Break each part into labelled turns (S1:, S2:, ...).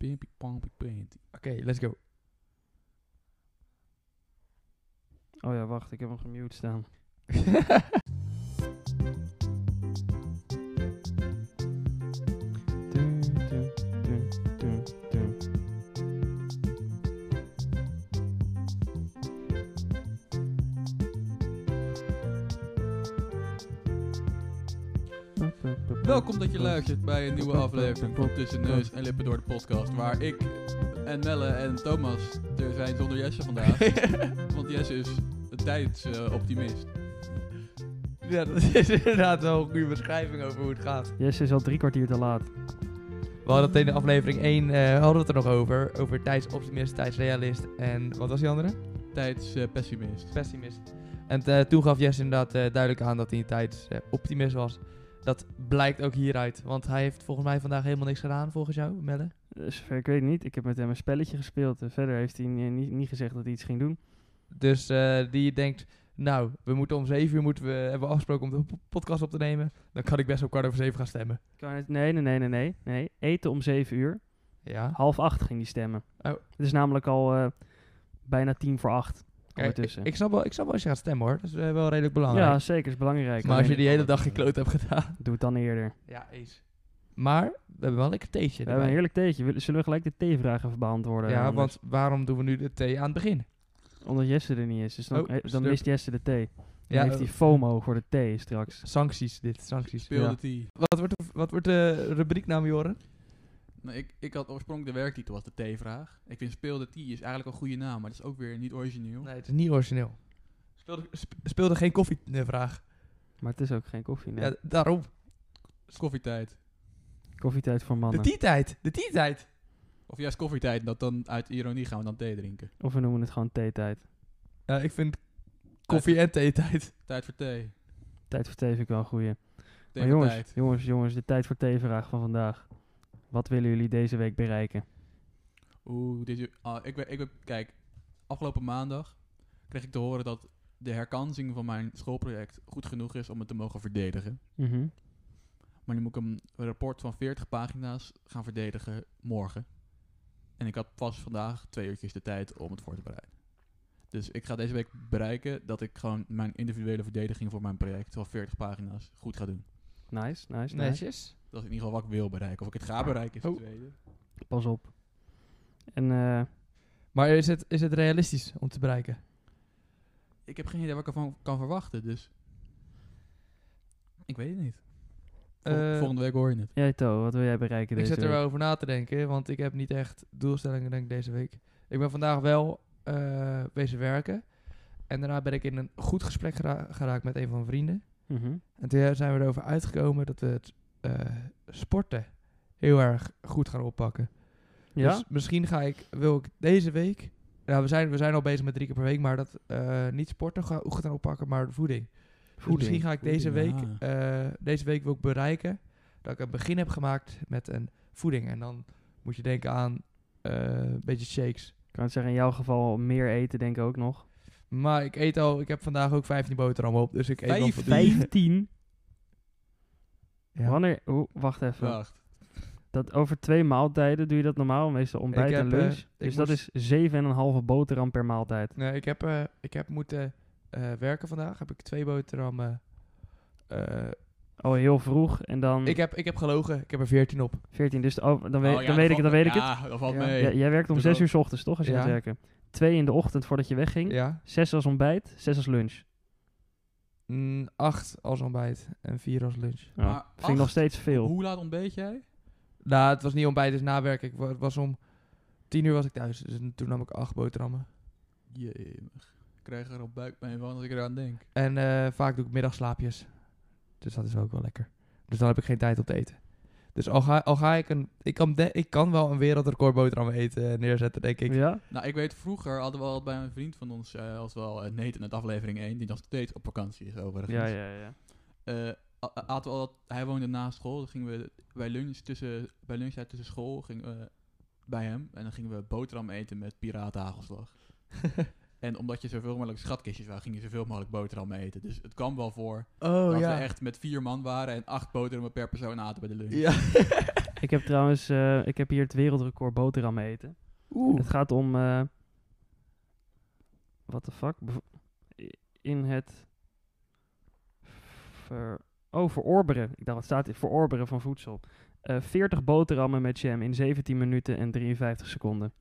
S1: Pimpy Pompy Panty.
S2: Oké, let's go.
S3: Oh ja, wacht, ik heb hem gemute staan.
S1: Welkom dat je luistert bij een nieuwe aflevering van Tussen Neus en Lippen door de podcast. Waar ik en Melle en Thomas er zijn zonder Jesse vandaag. want Jesse is een tijdsoptimist.
S2: ja, dat is inderdaad wel een goede beschrijving over hoe het gaat.
S3: Jesse is al drie kwartier te laat.
S2: We hadden het in de aflevering 1, eh hadden we het er nog over. Over tijdsoptimist, tijdsrealist en wat was die andere?
S1: Tijdspessimist.
S2: Pessimist. En eh, toen gaf Jess inderdaad eh, duidelijk aan dat hij een tijdsoptimist was. Dat blijkt ook hieruit, want hij heeft volgens mij vandaag helemaal niks gedaan volgens jou, Melle.
S3: Dus, eh, ik weet het niet, ik heb met hem een spelletje gespeeld. en Verder heeft hij ni- niet, niet gezegd dat hij iets ging doen.
S2: Dus eh, die denkt, nou, we moeten om 7 uur moeten we, hebben we afgesproken om de po- podcast op te nemen. Dan kan ik best op kwart over 7 gaan stemmen.
S3: Kan het- Nee, nee, nee, nee, nee, nee. Eten om zeven uur.
S2: Ja.
S3: Half acht ging hij stemmen.
S2: Oh.
S3: Het is namelijk al eh, bijna tien voor acht
S2: Kijk, ik,
S3: ondertussen.
S2: ik snap wel, ik snap wel als je gaat stemmen hoor. Dat is eh, wel redelijk belangrijk.
S3: ja, zeker, is belangrijk.
S2: maar als je
S3: Alleen,
S2: die hele dag gekloot hebt gedaan.
S3: Doe het dan eerder.
S2: Ja, eens. Maar we hebben wel een lekker theetje.
S3: We hebben een
S2: erbij.
S3: heerlijk theetje. Willen- Zullen we gelijk de theevragen even beantwoorden?
S2: Ja,
S3: anders?
S2: want waarom doen we nu de thee aan het begin?
S3: Omdat Jesse er niet is, dus dan,
S2: Oh,
S3: eh, dan
S2: slurp.
S3: mist Jesse de thee. Dan
S2: Ja, eh,
S3: heeft hij FOMO voor de thee straks.
S2: Sancties dit, sancties.
S1: Speelde
S3: Ja.
S1: die.
S2: Wat wordt, de, wat wordt de rubrieknaam, Joren?
S1: Nou, ik, ik had oorspronkelijk de werktitel was de T-vraag. Ik vind speelde die is eigenlijk een goede naam, maar dat is ook weer niet origineel.
S2: Nee, het is niet origineel. Speelde, sp- speelde geen koffievraag.
S3: Maar het is ook geen koffie, nee.
S2: Ja, daarom.
S1: Het is koffietijd.
S3: Koffietijd voor
S2: De
S3: mannen.
S2: tietijd. De tietijd.
S1: Of juist koffietijd, dat dan uit ironie gaan we dan thee drinken.
S3: Of we noemen het gewoon theetijd.
S2: Ja, ik vind koffie- en theetijd.
S1: Tijd voor thee.
S3: Tijd voor thee vind ik wel een goeie.
S1: Thee
S3: Maar
S1: voor
S3: jongens,
S1: tijd.
S3: jongens, jongens, de tijd voor theevraag van vandaag. Wat willen jullie deze week bereiken?
S1: Oeh, dit is... ah, ik, ben- ik, ben- kijk, afgelopen maandag kreeg ik te horen dat de herkansing van mijn schoolproject goed genoeg is om het te mogen verdedigen.
S3: Mhm.
S1: Maar nu moet ik een rapport van 40 pagina's gaan verdedigen morgen. En ik had pas vandaag twee uurtjes de tijd om het voor te bereiden. Dus ik ga deze week bereiken dat ik gewoon mijn individuele verdediging voor mijn project van 40 pagina's goed ga doen.
S3: Nice, nice, nice.
S2: Netjes.
S1: Dat is in ieder geval wat ik wil bereiken. Of ik het ga bereiken is het
S2: Oh.
S1: tweede.
S3: Pas op. En eh,
S2: Maar is het, is het realistisch om te bereiken?
S1: Ik heb geen idee wat ik ervan kan verwachten, dus... Ik weet het niet. Vol-
S2: Eh,
S1: volgende week hoor je het.
S3: jij To, wat wil jij bereiken
S2: Ik
S3: deze
S2: zit er
S3: week?
S2: wel over na te denken, want ik heb niet echt doelstellingen denk ik, deze week. Ik ben vandaag wel eh, bezig werken. En daarna ben ik in een goed gesprek gera- geraakt met een van mijn vrienden.
S3: Mhm.
S2: En toen zijn we erover uitgekomen dat we het eh, sporten heel erg goed gaan oppakken.
S3: Ja?
S2: Dus misschien ga ik, wil ik deze week... Nou, we zijn, we zijn al bezig met drie keer per week, maar dat eh, niet sporten ga, goed gaan oppakken, maar voeding. Dus
S3: Voeding.
S2: misschien ga ik deze week,
S1: Voeding,
S2: eh, deze week wil ik bereiken dat ik een begin heb gemaakt met een voeding. En dan moet je denken aan eh, een beetje shakes.
S3: Ik kan het zeggen, in jouw geval meer eten denk ik ook nog.
S2: Maar ik eet al, ik heb vandaag ook 15 boterhammen op, dus ik eet wel voldoende.
S3: Vijftien?
S2: Ja.
S3: Wanneer... oeh, wacht even.
S1: Wacht.
S3: Dat over twee maaltijden doe je dat normaal, meestal ontbijt
S2: Ik heb,
S3: en lunch.
S2: eh, ik
S3: dus dat
S2: moest-
S3: is zeven en een halve boterham per maaltijd.
S2: Nee, ik heb, eh, ik heb moeten eh, werken vandaag. Heb ik twee boterhammen. eh,
S3: Al Oh, heel vroeg en dan
S2: ik, heb, ik heb gelogen. Ik heb er 14 op.
S3: 14. Dus oh, dan,
S1: Oh
S3: weet,
S1: ja,
S3: dan weet
S1: dat
S3: ik het, dan weet ik
S1: valt-
S3: het.
S1: Ja, dat valt
S2: Ja.
S1: mee.
S3: Ja, jij werkt om
S1: Doe
S3: zes
S1: dat.
S3: uur 's ochtends, toch? Als je
S2: Ja.
S3: gaat werken. Twee in de ochtend voordat je wegging.
S2: Ja.
S3: Zes als ontbijt, zes als lunch.
S2: Mm, acht als ontbijt en vier als lunch.
S3: Nou,
S1: Maar
S3: vind ik nog
S1: acht?
S3: steeds veel.
S1: Hoe laat ontbeet jij?
S2: Nou, het was niet ontbijt, dus nawerk. Ik wa- was om 10 uur was ik thuis. Dus toen nam ik acht boterhammen.
S1: Jemig. Ik krijg er al buikpijn van als ik eraan denk.
S2: En eh, vaak doe ik middagslaapjes. Dus dat is ook wel lekker. Dus dan heb ik geen tijd om te eten. Dus al ga, al ga ik een... Ik kan, de- ik kan wel een wereldrecord boterhammen eten eh, neerzetten, denk ik.
S3: Ja?
S1: Nou, ik weet vroeger hadden we al bij een vriend van ons, eh als wel uh, Nathan uit aflevering 1, die nog steeds op vakantie is overigens.
S3: Ja, ja, ja.
S1: Eh, a- a- aten we al, hij woonde naast school, dan gingen we bij lunch tussen, bij lunchtijd tussen school gingen we bij hem en dan gingen we boterham eten met piratenhagelslag. en omdat je zoveel mogelijk schatkistjes wou, ging je zoveel mogelijk boterham eten. Dus het kwam wel voor
S2: Oh,
S1: dat we echt met vier man waren en acht boterhammen per persoon aten bij de lunch.
S2: Ja.
S3: Ik heb trouwens, eh, ik heb hier het wereldrecord boterhammen eten.
S2: Oeh.
S3: Het gaat om, eh what the fuck, Bev- in het ver, oh, verorberen. Ik dacht, wat staat dit? Verorberen van voedsel. Eh 40 boterhammen met jam in 17 minuten en 53 seconden.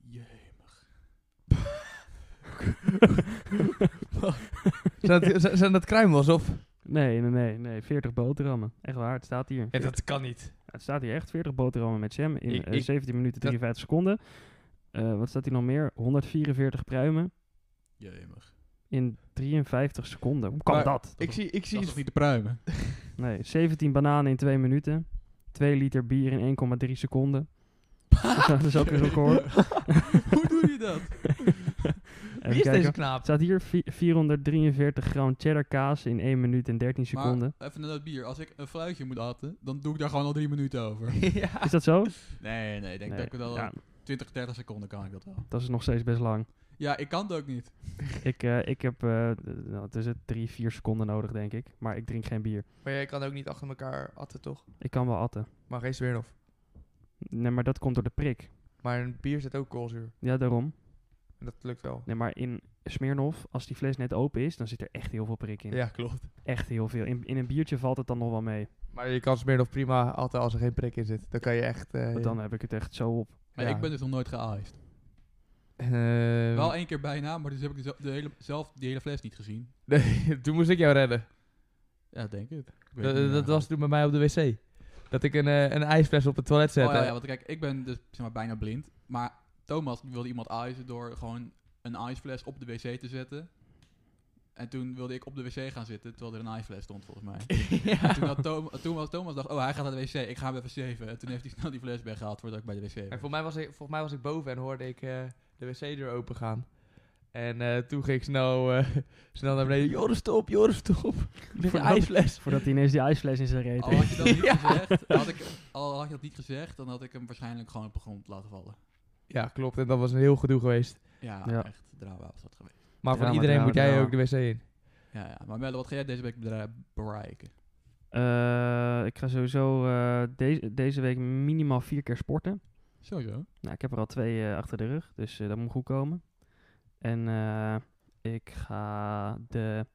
S2: Zijn dat, z- zijn dat kruimels of?
S3: Nee, nee, nee, nee, 40 boterhammen. Echt waar, het staat hier.
S2: dat kan niet.
S3: Het staat hier echt 40 boterhammen met jam in
S2: Ik-
S3: eh,
S2: ik-
S3: 17 minuten 53 seconden. Eh, wat staat hier nog meer? 144 pruimen
S1: Jemig.
S3: in 53 seconden. Hoe kan
S2: Maar-
S3: dat?
S2: Ik zie, ik
S1: Dat
S2: zie
S1: is toch niet te pruimen?
S3: Nee, 17 bananen in 2 minuten. 2 liter bier in 1,3 seconden. dat is ook een record.
S1: Hoe doe je dat?
S3: Even
S2: Wie is
S3: kijken.
S2: deze
S3: Er
S2: knaap?
S3: staat hier vi- 443 gram cheddar kaas in 1 minuut en 13 seconden.
S1: Maar even naar dat bier. Als ik een fluitje moet atten, dan doe ik daar gewoon al drie minuten over.
S2: ja.
S3: Is dat zo?
S1: Nee, nee. Ik denk
S3: Nee,
S1: dat ik wel
S3: ja,
S1: 20, 30 seconden kan ik dat wel.
S3: dat is nog steeds best lang.
S1: Ja, ik kan het ook niet.
S3: Ik, eh, ik heb eh nou, het is het 3, 4 seconden nodig, denk ik. Maar ik drink geen bier.
S2: Maar jij kan ook niet achter elkaar atten, toch?
S3: Ik kan wel atten.
S2: Maar geen Smirnoff.
S3: Nee, maar dat komt door de prik.
S2: Maar in bier zit ook koolzuur.
S3: Ja, daarom.
S2: En dat lukt wel.
S3: Nee, maar in Smirnoff, als die fles net open is, dan zit er echt heel veel prik in.
S2: Ja, klopt.
S3: Echt heel veel. In, in een biertje valt het dan nog wel mee.
S2: Maar je kan Smirnoff prima atten als er geen prik in zit. Dan kan je echt... eh,
S3: Want dan heb ik het echt zo op.
S1: Maar
S2: Ja.
S1: ik ben dus nog nooit geiced.
S2: eh,
S1: Wel één keer bijna, maar dus heb ik de- de hele, zelf die hele fles niet gezien.
S2: nee, toen moest ik jou redden.
S1: Ja, denk ik. Ik weet
S2: Dat,
S1: het niet
S2: dat was
S1: eigenlijk.
S2: toen bij mij op de wc. Dat ik een, eh, een ijsfles op het toilet zette.
S1: Oh
S3: eh,
S1: ja, ja, want kijk, ik ben dus zeg maar, bijna blind. Maar Thomas die wilde iemand ijzen door gewoon een ijsfles op de wc te zetten. En toen wilde ik op de wc gaan zitten, terwijl er een ijsfles stond volgens mij. En toen, had Thom- toen was Thomas dacht, oh hij gaat naar de wc, ik ga hem even zeven. En toen heeft hij snel die fles weggehaald voordat ik bij de wc
S2: En
S1: was.
S2: volgens mij, was ik, volgens mij was ik boven en hoorde ik eh, de wc-deur open gaan. En eh, toen ging ik snel, eh, snel naar beneden. Joris, stop, Joris, stop. Ik lig een
S3: Voordat-
S2: ijsfles.
S3: Voordat hij ineens die ijsfles in zijn reet
S1: Al Oh, had
S3: heeft.
S1: je dat niet
S2: Ja.
S1: gezegd, had ik, al had je dat niet gezegd, dan had ik hem waarschijnlijk gewoon op de grond laten vallen.
S2: Ja, klopt. En dat was een heel gedoe geweest.
S1: Ja,
S3: Ja.
S1: echt drama was dat geweest.
S2: Maar voor
S3: Drama,
S2: iedereen
S3: drama,
S2: moet jij
S3: drama.
S2: ook de wc in.
S1: Ja, ja. Maar Melle, wat ga jij deze week bedra- bereiken?
S3: Eh, ik ga sowieso eh, deze, deze week minimaal vier keer sporten.
S1: Sowieso.
S3: Nou, ik heb er al twee eh, achter de rug, dus eh, dat moet goed komen. En eh, ik ga de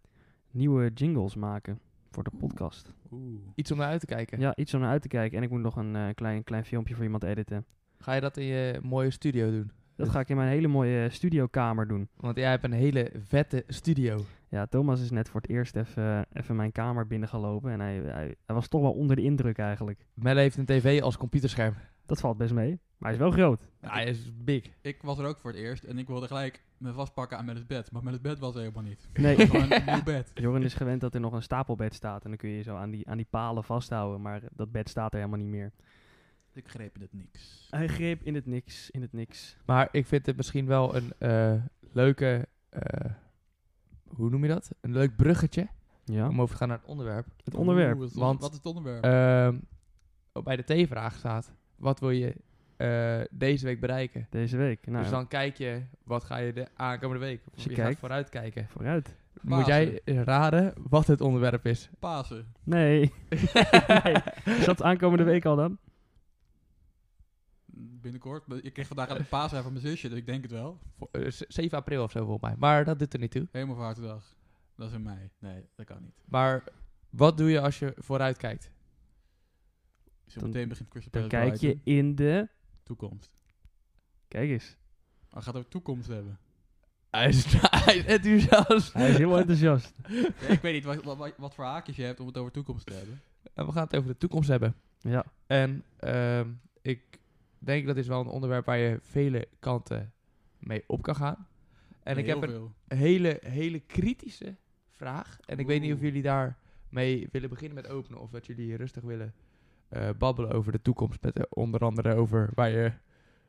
S3: nieuwe jingles maken voor de podcast.
S1: Oeh.
S2: Iets om naar uit te kijken.
S3: Ja, iets om naar uit te kijken. En ik moet nog een eh, klein, klein filmpje voor iemand editen.
S2: Ga je dat in je mooie studio doen?
S3: Dat ga ik in mijn hele mooie eh, studiokamer doen.
S2: Want jij hebt een hele vette studio.
S3: Ja, Thomas is net voor het eerst even, eh, even mijn kamer binnengelopen. En hij, hij, hij was toch wel onder de indruk eigenlijk.
S2: Melle heeft een tv als computerscherm.
S3: Dat valt best mee. Maar hij is wel groot.
S2: Ja, hij is big.
S1: Ik was er ook voor het eerst en ik wilde gelijk me vastpakken aan Melle's bed. Maar Melle's bed was er helemaal niet.
S3: Nee,
S1: Gewoon een nieuw bed.
S3: Joren is gewend dat er nog een stapelbed staat. En dan kun je je zo aan die, aan die palen vasthouden. Maar dat bed staat er helemaal niet meer.
S1: Ik greep in het niks.
S3: Hij greep in het niks, in het niks.
S2: Maar ik vind het misschien wel een eh, leuke... eh, hoe noem je dat? Een leuk bruggetje
S3: Ja,
S2: om over te gaan naar het onderwerp.
S3: het
S1: Oeh,
S3: onderwerp.
S1: wat is het
S2: Want-
S1: onder- wat is het onderwerp?
S2: Ehm, oh, bij de T-vraag staat: wat wil je eh, deze week bereiken?
S3: Deze week. Nou,
S2: dus dan kijk je, wat ga je de aankomende week? Of
S3: Als je
S2: je gaat
S3: kijkt.
S2: vooruit kijken.
S3: vooruit.
S2: Moet jij raden wat het onderwerp is?
S1: Pasen.
S3: Nee. nee. Is dat aankomende week al dan?
S1: Binnenkort. Maar Ik kreeg vandaag een Pasen van mijn zusje, dus ik denk het wel.
S2: Vo- eh, z- 7 april of zo volgens mij. Maar dat doet er niet toe.
S1: Helemaal vaartendag. Dat is in mei. Nee, dat kan niet.
S2: Maar wat doe je als je vooruit kijkt?
S1: Zo
S3: Dan-
S1: meteen begint Crystal
S3: Dan
S1: Palace
S3: kijk je
S1: Brighton.
S3: in de...
S1: Toekomst.
S3: Kijk eens.
S1: Maar het gaat over toekomst hebben.
S2: Hij is, hij is enthousiast.
S3: Hij is heel enthousiast.
S1: Ja, ik weet niet wat, wat- wat, wat voor haakjes je hebt om het over toekomst te hebben.
S2: En Nou, we gaan het over de toekomst hebben.
S3: Ja.
S2: En ehm, ik denk dat is wel een onderwerp waar je vele kanten mee op kan gaan. En ik
S1: Heel
S2: heb een
S1: veel.
S2: hele, hele kritische vraag. En ik weet niet of
S1: Oeh.
S2: jullie daarmee willen beginnen met openen. Of dat jullie rustig willen eh, babbelen over de toekomst. Met eh, onder andere over waar je,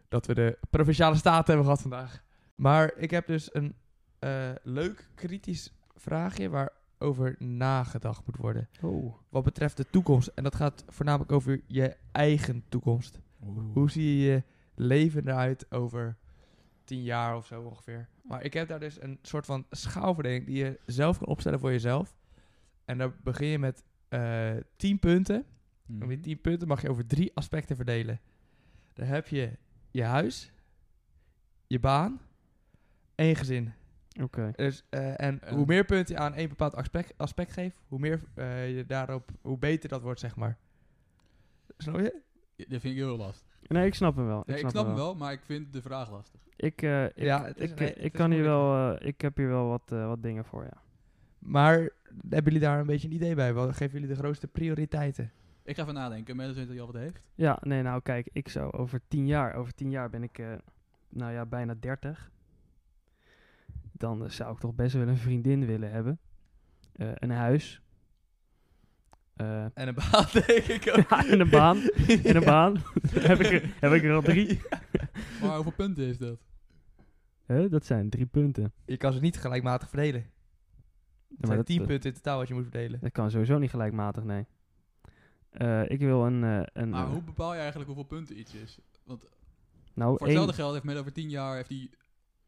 S2: dat we de provinciale staten hebben gehad vandaag. Maar ik heb dus een eh, leuk kritisch vraagje waarover nagedacht moet worden.
S3: Oh.
S2: Wat betreft de toekomst. En dat gaat voornamelijk over je eigen toekomst. Hoe zie je je leven eruit over tien jaar of zo ongeveer? Maar ik heb daar dus een soort van schaalverdeling die je zelf kan opstellen voor jezelf. En daar begin je met eh 10 punten. En
S1: Mhm.
S2: die 10 punten mag je over drie aspecten verdelen. Daar heb je je huis, je baan en je gezin.
S3: Oké.
S2: Dus, eh, en
S1: En-
S2: hoe meer punten je aan één bepaald aspect, aspect geeft, hoe meer eh, je daarop, hoe beter dat wordt, zeg maar. Snap je?
S1: Ja, Dat vind ik heel lastig.
S3: Nee, ik snap hem wel.
S1: Nee, ik snap hem wel, maar ik vind de vraag lastig.
S3: Ik, eh, ik,
S2: Ja, het is
S3: ik,
S2: een-
S3: eh,
S2: het
S3: ik
S2: is
S3: kan hier
S2: moeilijk.
S3: wel, eh, ik heb hier wel wat, eh, wat dingen voor, ja.
S2: Maar hebben jullie daar een beetje een idee bij? Wat geven jullie de grootste prioriteiten?
S1: Ik ga even nadenken. Mensen weten dat je altijd heeft.
S3: Ja, nee, nou kijk, ik zou over tien jaar, over tien jaar ben ik, eh, nou ja, bijna dertig. Dan eh, zou ik toch best wel een vriendin willen hebben. Eh, een huis. Eh,
S2: En een baan, denk ik ook.
S3: ja, en een baan. En een
S2: Ja.
S3: baan. heb, ik er, heb ik er al drie?
S1: Maar hoeveel punten is dat?
S3: Hè, dat zijn drie punten.
S2: Je kan ze niet gelijkmatig verdelen.
S3: Ja,
S2: Het
S3: maar
S2: zijn
S3: dat,
S2: 10
S3: eh,
S2: punten in totaal wat je moet verdelen.
S3: dat kan sowieso niet gelijkmatig, nee. Eh, ik wil een... eh,
S2: Nou,
S3: een
S1: Maar
S3: eh,
S1: hoe bepaal je eigenlijk hoeveel punten iets is?
S3: nou,
S1: Voor
S3: Oh, één,
S1: hetzelfde geld heeft men over tien jaar heeft hij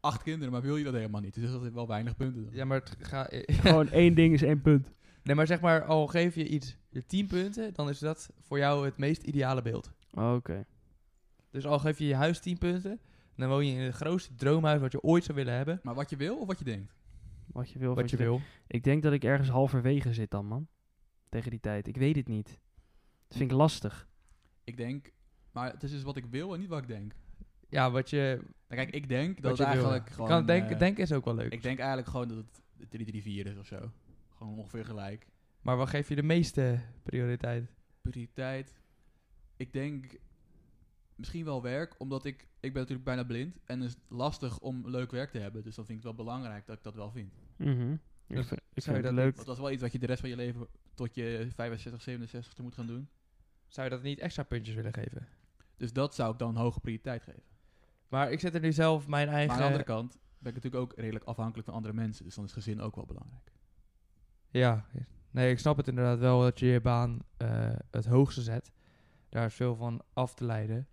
S1: acht kinderen, maar wil je dat helemaal niet. Dus dat is wel weinig punten dan.
S2: Ja, maar het ga...
S3: gewoon één ding is één punt.
S2: Nee, maar zeg maar, al geef je iets je 10 punten, dan is dat voor jou het meest ideale beeld.
S3: Oké.
S2: Dus al geef je je huis 10 punten, dan woon je in het grootste droomhuis wat je ooit zou willen hebben.
S1: Maar wat je wil of wat je denkt?
S3: Wat je wil. of
S2: Wat je
S3: denkt.
S2: wil.
S3: Ik denk dat ik ergens halverwege zit dan, man. Tegen die tijd. Ik weet het niet. Dat vind ik lastig.
S1: Ik denk, maar het is dus wat ik wil en niet wat ik denk.
S2: Ja, wat je,
S1: Nou, kijk, ik denk dat het
S2: wat je wil.
S1: eigenlijk gewoon...
S2: kan denken,
S1: eh,
S2: denken is ook wel leuk.
S1: Ik denk eigenlijk gewoon dat het 3-3-4 is of zo. Gewoon ongeveer gelijk.
S2: Maar wat geef je de meeste prioriteit?
S1: Prioriteit. Ik denk misschien wel werk, omdat ik... Ik ben natuurlijk bijna blind en het is lastig om leuk werk te hebben. Dus dan vind ik het wel belangrijk dat ik dat wel vind.
S3: Mhm. Ik,
S2: Dus
S3: vind- ik
S2: zou
S3: vind
S2: je
S3: het
S2: dat
S3: leuk.
S1: Want dat is wel iets wat je de rest van je leven tot je 65, 67 te moet gaan doen.
S2: Zou je dat niet extra puntjes willen geven?
S1: Dus dat zou ik dan een hoge prioriteit geven.
S2: Maar ik zet er nu zelf mijn eigen...
S1: Maar aan de andere kant ben ik natuurlijk ook redelijk afhankelijk van andere mensen. Dus dan is gezin ook wel belangrijk.
S2: Ja, nee, ik snap het inderdaad wel dat je je baan eh, het hoogste zet. Daar is veel van af te leiden.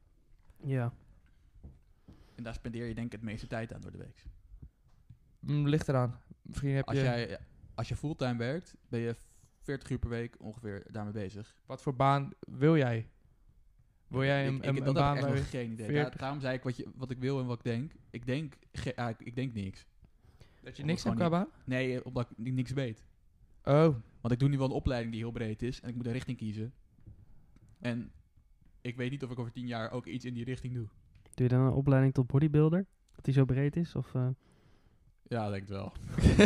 S3: Ja.
S1: En daar spendeer je denk ik het meeste tijd aan door de week.
S2: Mm, ligt eraan. Misschien heb
S1: Als,
S2: je...
S1: jij, als je fulltime werkt, ben je 40 uur per week ongeveer daarmee bezig.
S2: Wat voor baan wil jij? Wil jij een,
S1: ik, ik,
S2: een,
S1: dat heb
S2: een
S1: ik
S2: baan
S1: echt nog
S2: waar je-
S1: geen idee.
S2: 40.
S1: Daar- daarom zei ik wat, je, wat ik wil en wat ik denk. Ik denk, ge- eigenlijk, ik denk niks.
S2: dat je
S1: Omdat
S2: niks hebt qua
S1: gewoon
S2: baan?
S1: Nee, eh, omdat ik ni- niks weet.
S2: Oh,
S1: Want ik doe nu wel een opleiding die heel breed is. En ik moet een richting kiezen. En ik weet niet of ik over 10 jaar ook iets in die richting doe.
S3: Doe je dan een opleiding tot bodybuilder? Dat die zo breed is? Of, eh,
S1: Ja, ik denk het wel.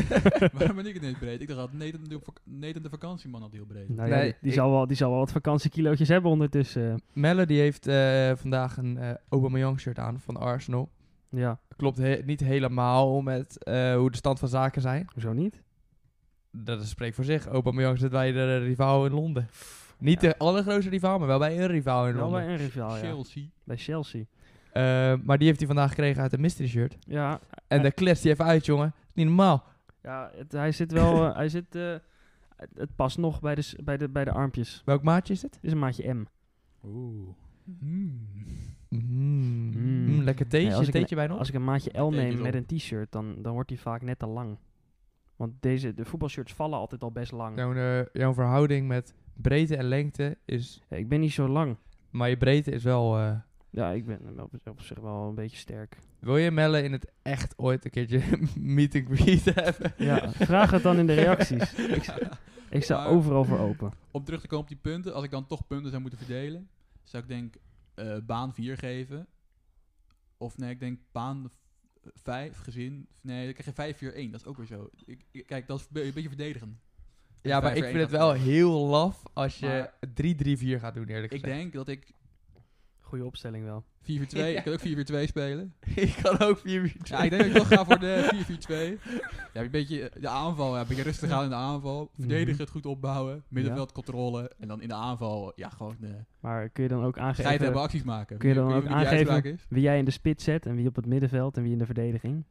S1: Waarom ben ik het niet breed? Ik dacht altijd, Nathan, de vak- Nathan de vakantieman had heel breed.
S3: nou ja,
S2: Nee,
S3: die, die
S2: ik-
S3: zal wel, die zal wel wat vakantiekilootjes hebben ondertussen.
S2: Melle die heeft eh, vandaag een eh Aubameyang shirt aan van Arsenal.
S3: ja,
S2: Klopt he- niet helemaal met eh, hoe de stand van zaken zijn.
S3: hoezo niet?
S2: Dat is- spreekt voor zich. Aubameyang zit bij de eh, rivaal in Londen. Niet
S3: Ja.
S2: de allergrootste rivaal, maar wel bij een rivaal in
S3: Wel
S2: Londen.
S3: bij een rivaal, nou ja.
S1: Chelsea.
S3: Bij Chelsea.
S2: Eh, maar die heeft hij vandaag gekregen uit een mystery shirt.
S3: Ja,
S2: En de klets die even uit, jongen. Is niet normaal.
S3: ja het- hij zit wel... eh, hij zit, eh, het- het past nog bij de, s- bij de, bij de armpjes.
S2: Welk maatje is het?
S3: Het is een maatje M.
S1: Oeh. Hmm.
S2: Mm.
S3: Mm.
S2: Mm, lekker theetje.
S3: Nee, als ik
S2: theetje bij nog?
S3: Als ik een maatje L
S1: Tekens
S3: neem
S1: op.
S3: met een t-shirt, dan, dan wordt die vaak net te lang. Want deze, de voetbalshirts vallen altijd al best lang.
S2: Jouw, eh, jouw verhouding met breedte en lengte is...
S3: Ja, ik ben niet zo lang.
S2: Maar je breedte is wel... eh,
S3: Ja, ik ben op, op zich wel een beetje sterk.
S2: wil je Melle in het echt ooit een keertje meet and greet hebben?
S3: Ja, vraag het dan in de reacties. Ik, ik sta
S1: Maar-
S3: overal voor open.
S1: Om terug te komen op die punten, als ik dan toch punten zou moeten verdelen, zou ik denk eh, baan 4 geven. Of nee, ik denk baan 5, gezin. Nee, dan krijg je 5, 4, 1. Dat is ook weer zo. Ik, ik- kijk, dat is be- een beetje verdedigend.
S2: Ja, maar
S1: Vijf
S2: ik
S1: voor één
S2: vind het wel
S1: gaat goed.
S2: heel laf als je
S1: Maar-
S2: 3-3-4 gaat doen, eerlijk
S1: Ik
S2: gezegd.
S1: denk dat ik 4-4-2,
S3: Goeie opstelling wel.
S1: ik kan ook 4-4-2 spelen.
S2: ik kan ook 4-4-2.
S1: Ja, ik denk dat ik toch ga voor de 4-4-2. Ja, heb je een beetje eh, de aanval, ja, een beetje rustig aan in de aanval.
S3: Mhm.
S1: Verdedigen het goed opbouwen, middenveld controle. En dan in de aanval, ja, gewoon eh
S3: Maar kun je dan ook
S1: geiten hebben
S3: aangeven
S1: acties maken.
S3: kun je dan
S1: Wie- wie-
S3: ook
S1: wie die
S3: aangeven-
S1: uitspraak is?
S3: wie jij in de spits zet en wie op het middenveld en wie in de verdediging?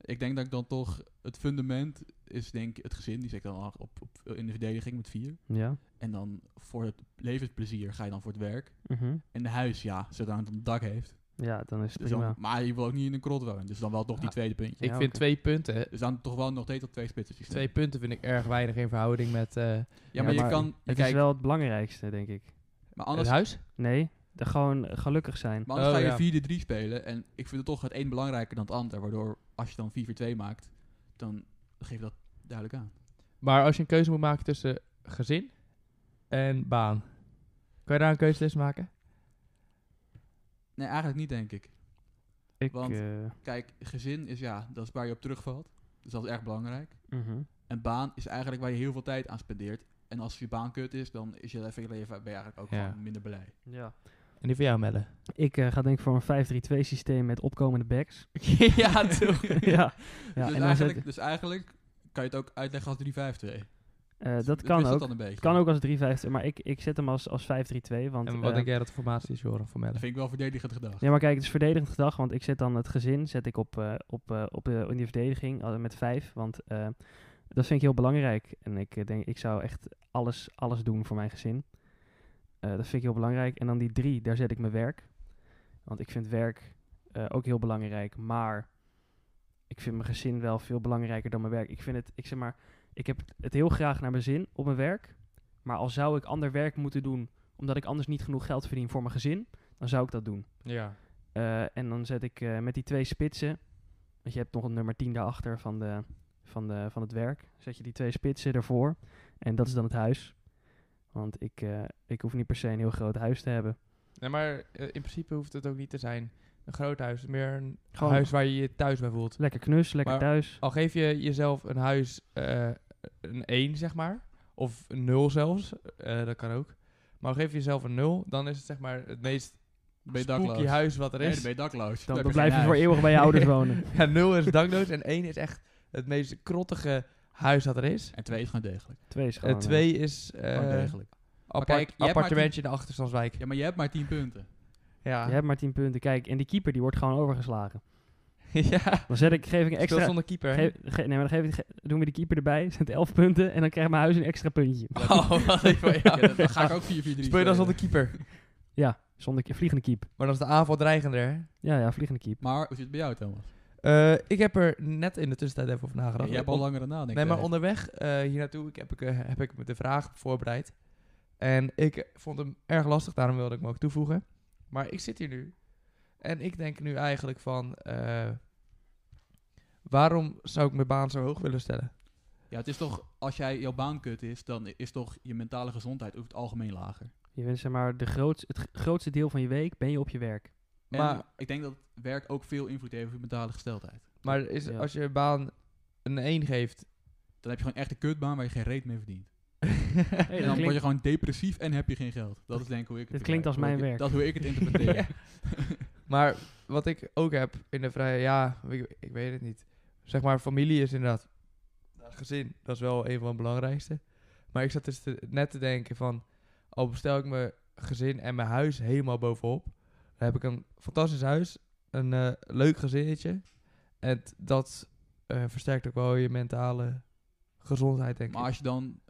S1: Ik denk dat ik dan toch het fundament is denk ik het gezin. Die zet ik dan al op, op, in de verdediging met vier.
S3: Ja.
S1: En dan voor het levensplezier ga je dan voor het werk.
S3: Mhm.
S1: En de huis, ja, zodat het een dak heeft.
S3: Ja, dan is het
S1: Dus dan-
S3: prima.
S1: maar je wil ook niet in een krot wonen. Dus dan wel toch die
S2: Ja.
S1: tweede puntje.
S2: Ik
S3: Ja,
S2: vind
S3: oké.
S2: twee punten...
S1: Dus dan toch wel nog steeds op twee spitsen.
S2: Twee punten vind ik erg weinig in verhouding met eh,
S1: Ja, maar
S3: Ja,
S1: je
S3: maar
S1: kan...
S3: Het
S1: kijk,
S3: is wel het belangrijkste, denk ik.
S1: maar
S2: het
S1: anders,
S2: huis.
S3: Nee, de- gewoon gelukkig zijn.
S1: Maar anders
S2: Oh,
S1: ga je 4-3 spelen. En ik vind het toch het een belangrijker dan het ander. Waardoor als je dan 4-4-2 maakt, dan geef dat duidelijk aan.
S2: Maar als je een keuze moet maken tussen gezin en baan, kan je daar een keuze tussen maken?
S1: Nee, eigenlijk niet, denk ik.
S3: Ik,
S1: Want-
S3: eh,
S1: Kijk, gezin is ja, dat is waar je op terugvalt. Dus dat is erg belangrijk.
S3: mhm.
S1: En baan is eigenlijk waar je heel veel tijd aan spendeert. En als je baan kut is, dan is je leven je leven ben je eigenlijk ook
S2: Ja.
S1: gewoon minder blij.
S3: ja.
S2: En die van jou, Melle.
S3: Ik eh, ga denk ik voor een 5-3-2 systeem met opkomende backs.
S2: ja, toch?
S3: ja. ja
S1: dus,
S3: en dan
S1: eigenlijk,
S3: zet,
S1: dus eigenlijk kan je het ook uitleggen als 3-5-2.
S3: eh,
S1: Dus
S3: dat kan
S1: wisselt
S3: ook.
S1: dan een beetje.
S3: Kan ook als 3-5, maar ik, ik zet hem als, als 5-3-2. Want,
S2: En wat
S3: eh,
S2: denk jij dat de formatie is, Joran, voor
S1: Dat
S2: Melle?
S1: vind ik wel verdedigend gedacht.
S3: Ja, maar kijk, het is verdedigend gedrag, want ik zet dan het gezin zet ik op, eh, op, eh, op, eh, in die verdediging eh, met vijf, want eh, dat vind ik heel belangrijk. En ik eh, denk, ik zou echt alles, alles doen voor mijn gezin. Eh, dat vind ik heel belangrijk. En dan die drie, daar zet ik mijn werk. Want ik vind werk eh, ook heel belangrijk, maar ik vind mijn gezin wel veel belangrijker dan mijn werk. Ik vind het, ik zeg maar, ik heb het heel graag naar mijn zin op mijn werk, maar al zou ik ander werk moeten doen, omdat ik anders niet genoeg geld verdien voor mijn gezin, dan zou ik dat doen.
S2: Ja.
S3: Eh, en dan zet ik eh, met die twee spitsen. Want je hebt nog een nummer 10 daarachter van, de, van, de, van het werk. Zet je die twee spitsen ervoor. En dat is dan het huis. Want ik, eh, ik hoef niet per se een heel groot huis te hebben.
S2: Nee, maar eh, in principe hoeft het ook niet te zijn een groot huis. Meer een
S3: Gewoon-
S2: huis waar je je thuis bij voelt.
S3: Lekker knus, lekker
S2: Maar-
S3: thuis.
S2: Al geef je jezelf een huis eh, een 1, zeg maar. Of een 0 zelfs. eh, dat kan ook. Maar al geef je jezelf een 0, dan is het zeg maar het meest
S1: Ben je dakloos?
S2: spooky huis wat er
S1: Nee, dan
S2: is.
S1: ben je dakloos.
S3: Dan,
S1: heb
S3: dan
S1: geen
S3: blijf je
S1: huis.
S3: voor eeuwig bij je ouders wonen.
S2: ja, 0 is dakloos en 1 is echt het meest krottige huis dat er is.
S1: En twee is gewoon degelijk.
S3: Twee is
S2: En
S3: gewoon... eh,
S2: 2 is eh
S1: Gewoon degelijk.
S2: apart,
S1: kijk, je hebt maar
S2: appartementje in de achterstandswijk.
S1: Ja, maar je hebt maar 10 punten.
S2: Ja.
S3: eh, Je hebt maar 10 punten. Kijk, en die keeper die wordt gewoon overgeslagen.
S2: ja.
S3: Dan zet ik, geef ik een
S2: Speelt
S3: extra...
S2: zonder keeper. hè?
S3: Geef, ge- nee, maar dan geef ik, ge- doen we de keeper erbij. Zet 11 punten. En dan krijgt mijn huis een extra puntje.
S2: Oh, wat ik van jou.
S1: Ja, dan, dan ga ik ook 4-4-3
S2: Speel je dan
S1: spelen.
S2: zonder keeper.
S3: Ja, zonder ke- vliegende keep.
S2: Maar dan is de aanval dreigender, hè?
S3: Ja, ja, vliegende keep.
S1: Maar hoe zit het bij jou, Thomas?
S2: Eh, ik heb er net in de tussentijd even over
S1: Ja,
S2: nagedacht.
S1: je hebt al
S2: On-
S1: langer nadenken.
S2: nee, maar onderweg eh, hier naartoe ik heb, ik, eh, heb ik me de vraag voorbereid. En ik vond hem erg lastig, daarom wilde ik hem ook toevoegen. Maar ik zit hier nu. En ik denk nu eigenlijk van... eh, waarom zou ik mijn baan zo hoog willen stellen?
S1: Ja, het is toch, als jij jouw baan kut is, dan is toch je mentale gezondheid over het algemeen lager.
S3: Je bent zeg maar de groots, het g- grootste deel van je week ben je op je werk.
S1: En
S2: Maar-
S1: ik denk dat werk ook veel invloed heeft op je mentale gesteldheid.
S2: Maar is,
S3: Ja.
S2: als je je baan een 1 geeft...
S1: Dan heb je gewoon echt een kutbaan waar je geen reet mee verdient.
S3: Hey,
S1: En dan
S3: dat
S1: word je
S3: klinkt,
S1: gewoon depressief en heb je geen geld. Dat is denk ik hoe ik het
S3: Dit klinkt als
S1: hoe ik
S3: mijn
S1: het-
S3: werk.
S1: Dat is hoe ik het interpreteer.
S2: Ja. Maar wat ik ook heb in de vrije, ja, ik, ik weet het niet. Zeg maar, familie is inderdaad nou, gezin. Dat is wel een van de belangrijkste. Maar ik zat dus te- net te denken van, al bestel ik mijn gezin en mijn huis helemaal bovenop. Dan heb ik een fantastisch huis, een eh, leuk gezinnetje. En t- dat eh, versterkt ook wel je mentale gezondheid, denk
S1: Maar
S2: ik.
S1: als je dan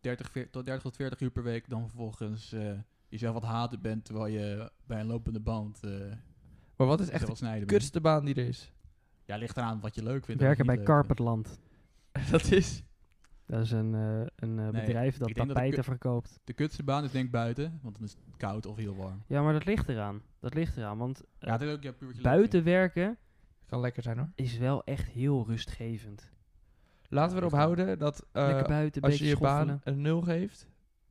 S1: 30, 40, tot 30 tot 40 uur per week dan vervolgens eh, jezelf wat haten bent terwijl je bij een lopende band eh
S2: Maar wat is echt
S1: jezelf
S2: de
S1: wat snijden bent.
S2: kutste baan die er is?
S1: Ja, ligt eraan wat je leuk vindt. en
S3: werken
S1: wat
S3: bij
S1: je niet leuk vindt.
S3: Carpetland.
S2: dat is...
S3: Dat is een, eh, een eh,
S1: Nee,
S3: bedrijf dat
S1: ik denk dat
S3: tapijten
S1: ik-
S3: verkoopt.
S1: De kutste baan is denk ik buiten, want dan is het koud of heel warm.
S3: Ja, maar dat ligt eraan. Dat ligt eraan, want
S1: Ja, het is ook ja, puur wat je leuk
S3: buiten werken
S2: Kan lekker zijn hoor.
S3: is wel echt heel rustgevend.
S2: Laten we
S1: Ja,
S2: erop
S1: dat is
S2: houden dat... eh,
S3: Lekker buiten, een
S2: als je
S3: beetje
S2: je
S3: schoffelen.
S2: baan een nul geeft,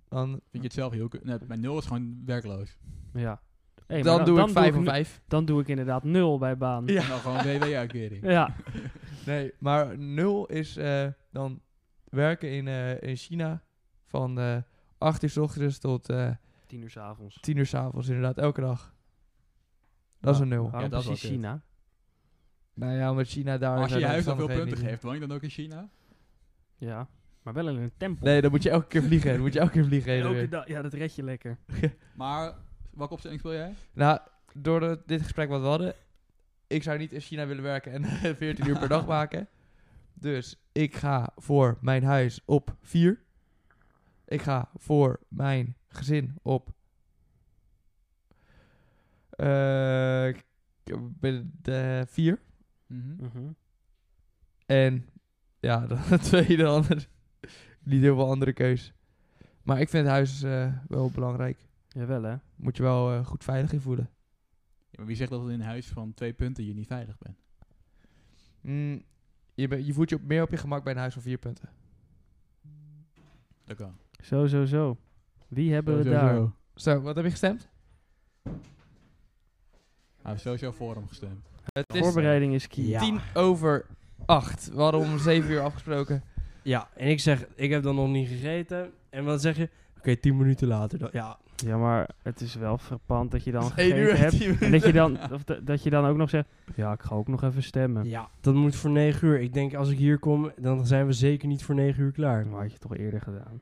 S2: dan,
S1: Vind je het zelf heel kut? Nee, mijn nul is gewoon werkloos.
S3: Ja. Hey, maar
S2: dan, doe ik 5
S3: nu-
S2: of 5.
S3: Dan doe ik inderdaad nul bij baan.
S2: Ja.
S3: Ja.
S1: En dan gewoon WW-uitkering.
S2: Nee, maar 0 is eh, dan werken in, eh, in China van eh 8 uur s ochtends tot eh
S3: Tien uur 's avonds.
S2: 10 uur s avonds, inderdaad, elke dag. Dat is
S3: Ah,
S2: een 0.
S3: Waarom
S1: dat is wel
S3: precies
S1: kut.
S3: China?
S2: Nou ja, omdat China daar...
S1: Als je
S2: zijn
S1: je
S2: de
S1: huis dan veel punten
S2: omstandigheden niet-
S1: geeft, woon je dan ook in China?
S3: Ja, maar wel in een tempel.
S2: Nee, dan moet je elke keer vliegen. Dan moet je elke keer vliegen. heen en
S3: Elke
S2: weer.
S3: dag- ja, dat red je lekker.
S1: Maar welke opstelling speel jij?
S2: Nou, door de- dit gesprek wat we hadden, ik zou niet in China willen werken en 14 uur per dag maken. Dus ik ga voor mijn huis op 4. Ik ga voor mijn gezin op. eh, ik ben de 4.
S1: Hm?
S3: Mhm.
S2: En ja, dan twee dan. Niet heel veel andere keus. Maar ik vind het huis eh, wel belangrijk.
S3: Jawel hè.
S2: Moet je wel eh, goed veilig in voelen.
S1: Ja, maar wie zegt dat het in huis van twee punten je niet veilig bent?
S2: Mm, je, ben- je voelt je op, meer op je gemak bij een huis van vier punten.
S1: Dat kan.
S3: Zo, zo, zo. Wie hebben
S1: Sowieso
S3: we daar?
S1: zo.
S2: Zo, wat heb je gestemd?
S1: Hij heeft sowieso voor hem gestemd.
S2: Het
S3: De Voorbereiding is key.
S4: Ja.
S2: tien over acht. We hadden om zeven uur afgesproken.
S4: Ja, en ik zeg, ik heb dan nog niet gegeten. En dan zeg je, oké, tien minuten later. Dan, ja,
S3: Ja, maar het is wel verpand dat je dan
S2: Het is één
S3: gegeten
S2: uur en
S3: hebt.
S2: tien
S3: En dat je, dan, of da- dat je dan ook nog zegt, ja, ik ga ook nog even stemmen.
S4: ja, dat moet voor negen uur. Ik denk, als ik hier kom, dan zijn we zeker niet voor negen uur klaar.
S3: Maar had je toch eerder gedaan.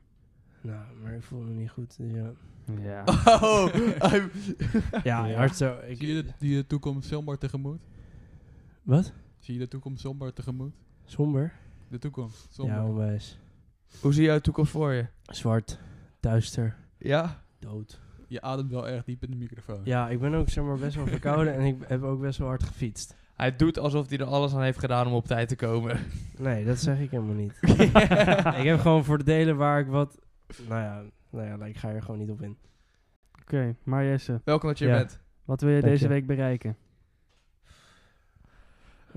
S4: Nou, maar ik voel me niet goed. dus ja,
S3: Ja.
S2: Oh, I'm-
S4: ja,
S3: Ja.
S4: hard zo. Ik,
S1: Zie je de, die de toekomst somber tegemoet?
S4: Wat?
S1: Zie je de toekomst somber tegemoet?
S4: Somber?
S1: De toekomst somber.
S4: Ja, onwijs.
S2: Hoe zie je jouw toekomst voor je?
S4: Zwart, duister,
S2: Ja?
S4: dood.
S1: Je ademt wel erg diep in de microfoon.
S4: Ja, ik ben ook zeg maar best wel verkouden en ik heb ook best wel hard gefietst.
S2: Hij doet alsof hij er alles aan heeft gedaan om op tijd te komen.
S4: Nee, dat zeg ik helemaal niet. ik heb gewoon voor de delen waar ik wat... Nou ja, nou ja, ik ga er gewoon niet op in.
S3: Oké, maar Jesse,
S2: Welkom dat je er
S4: Ja.
S2: bent.
S3: wat wil je
S4: Dank
S3: deze
S4: je.
S3: week bereiken?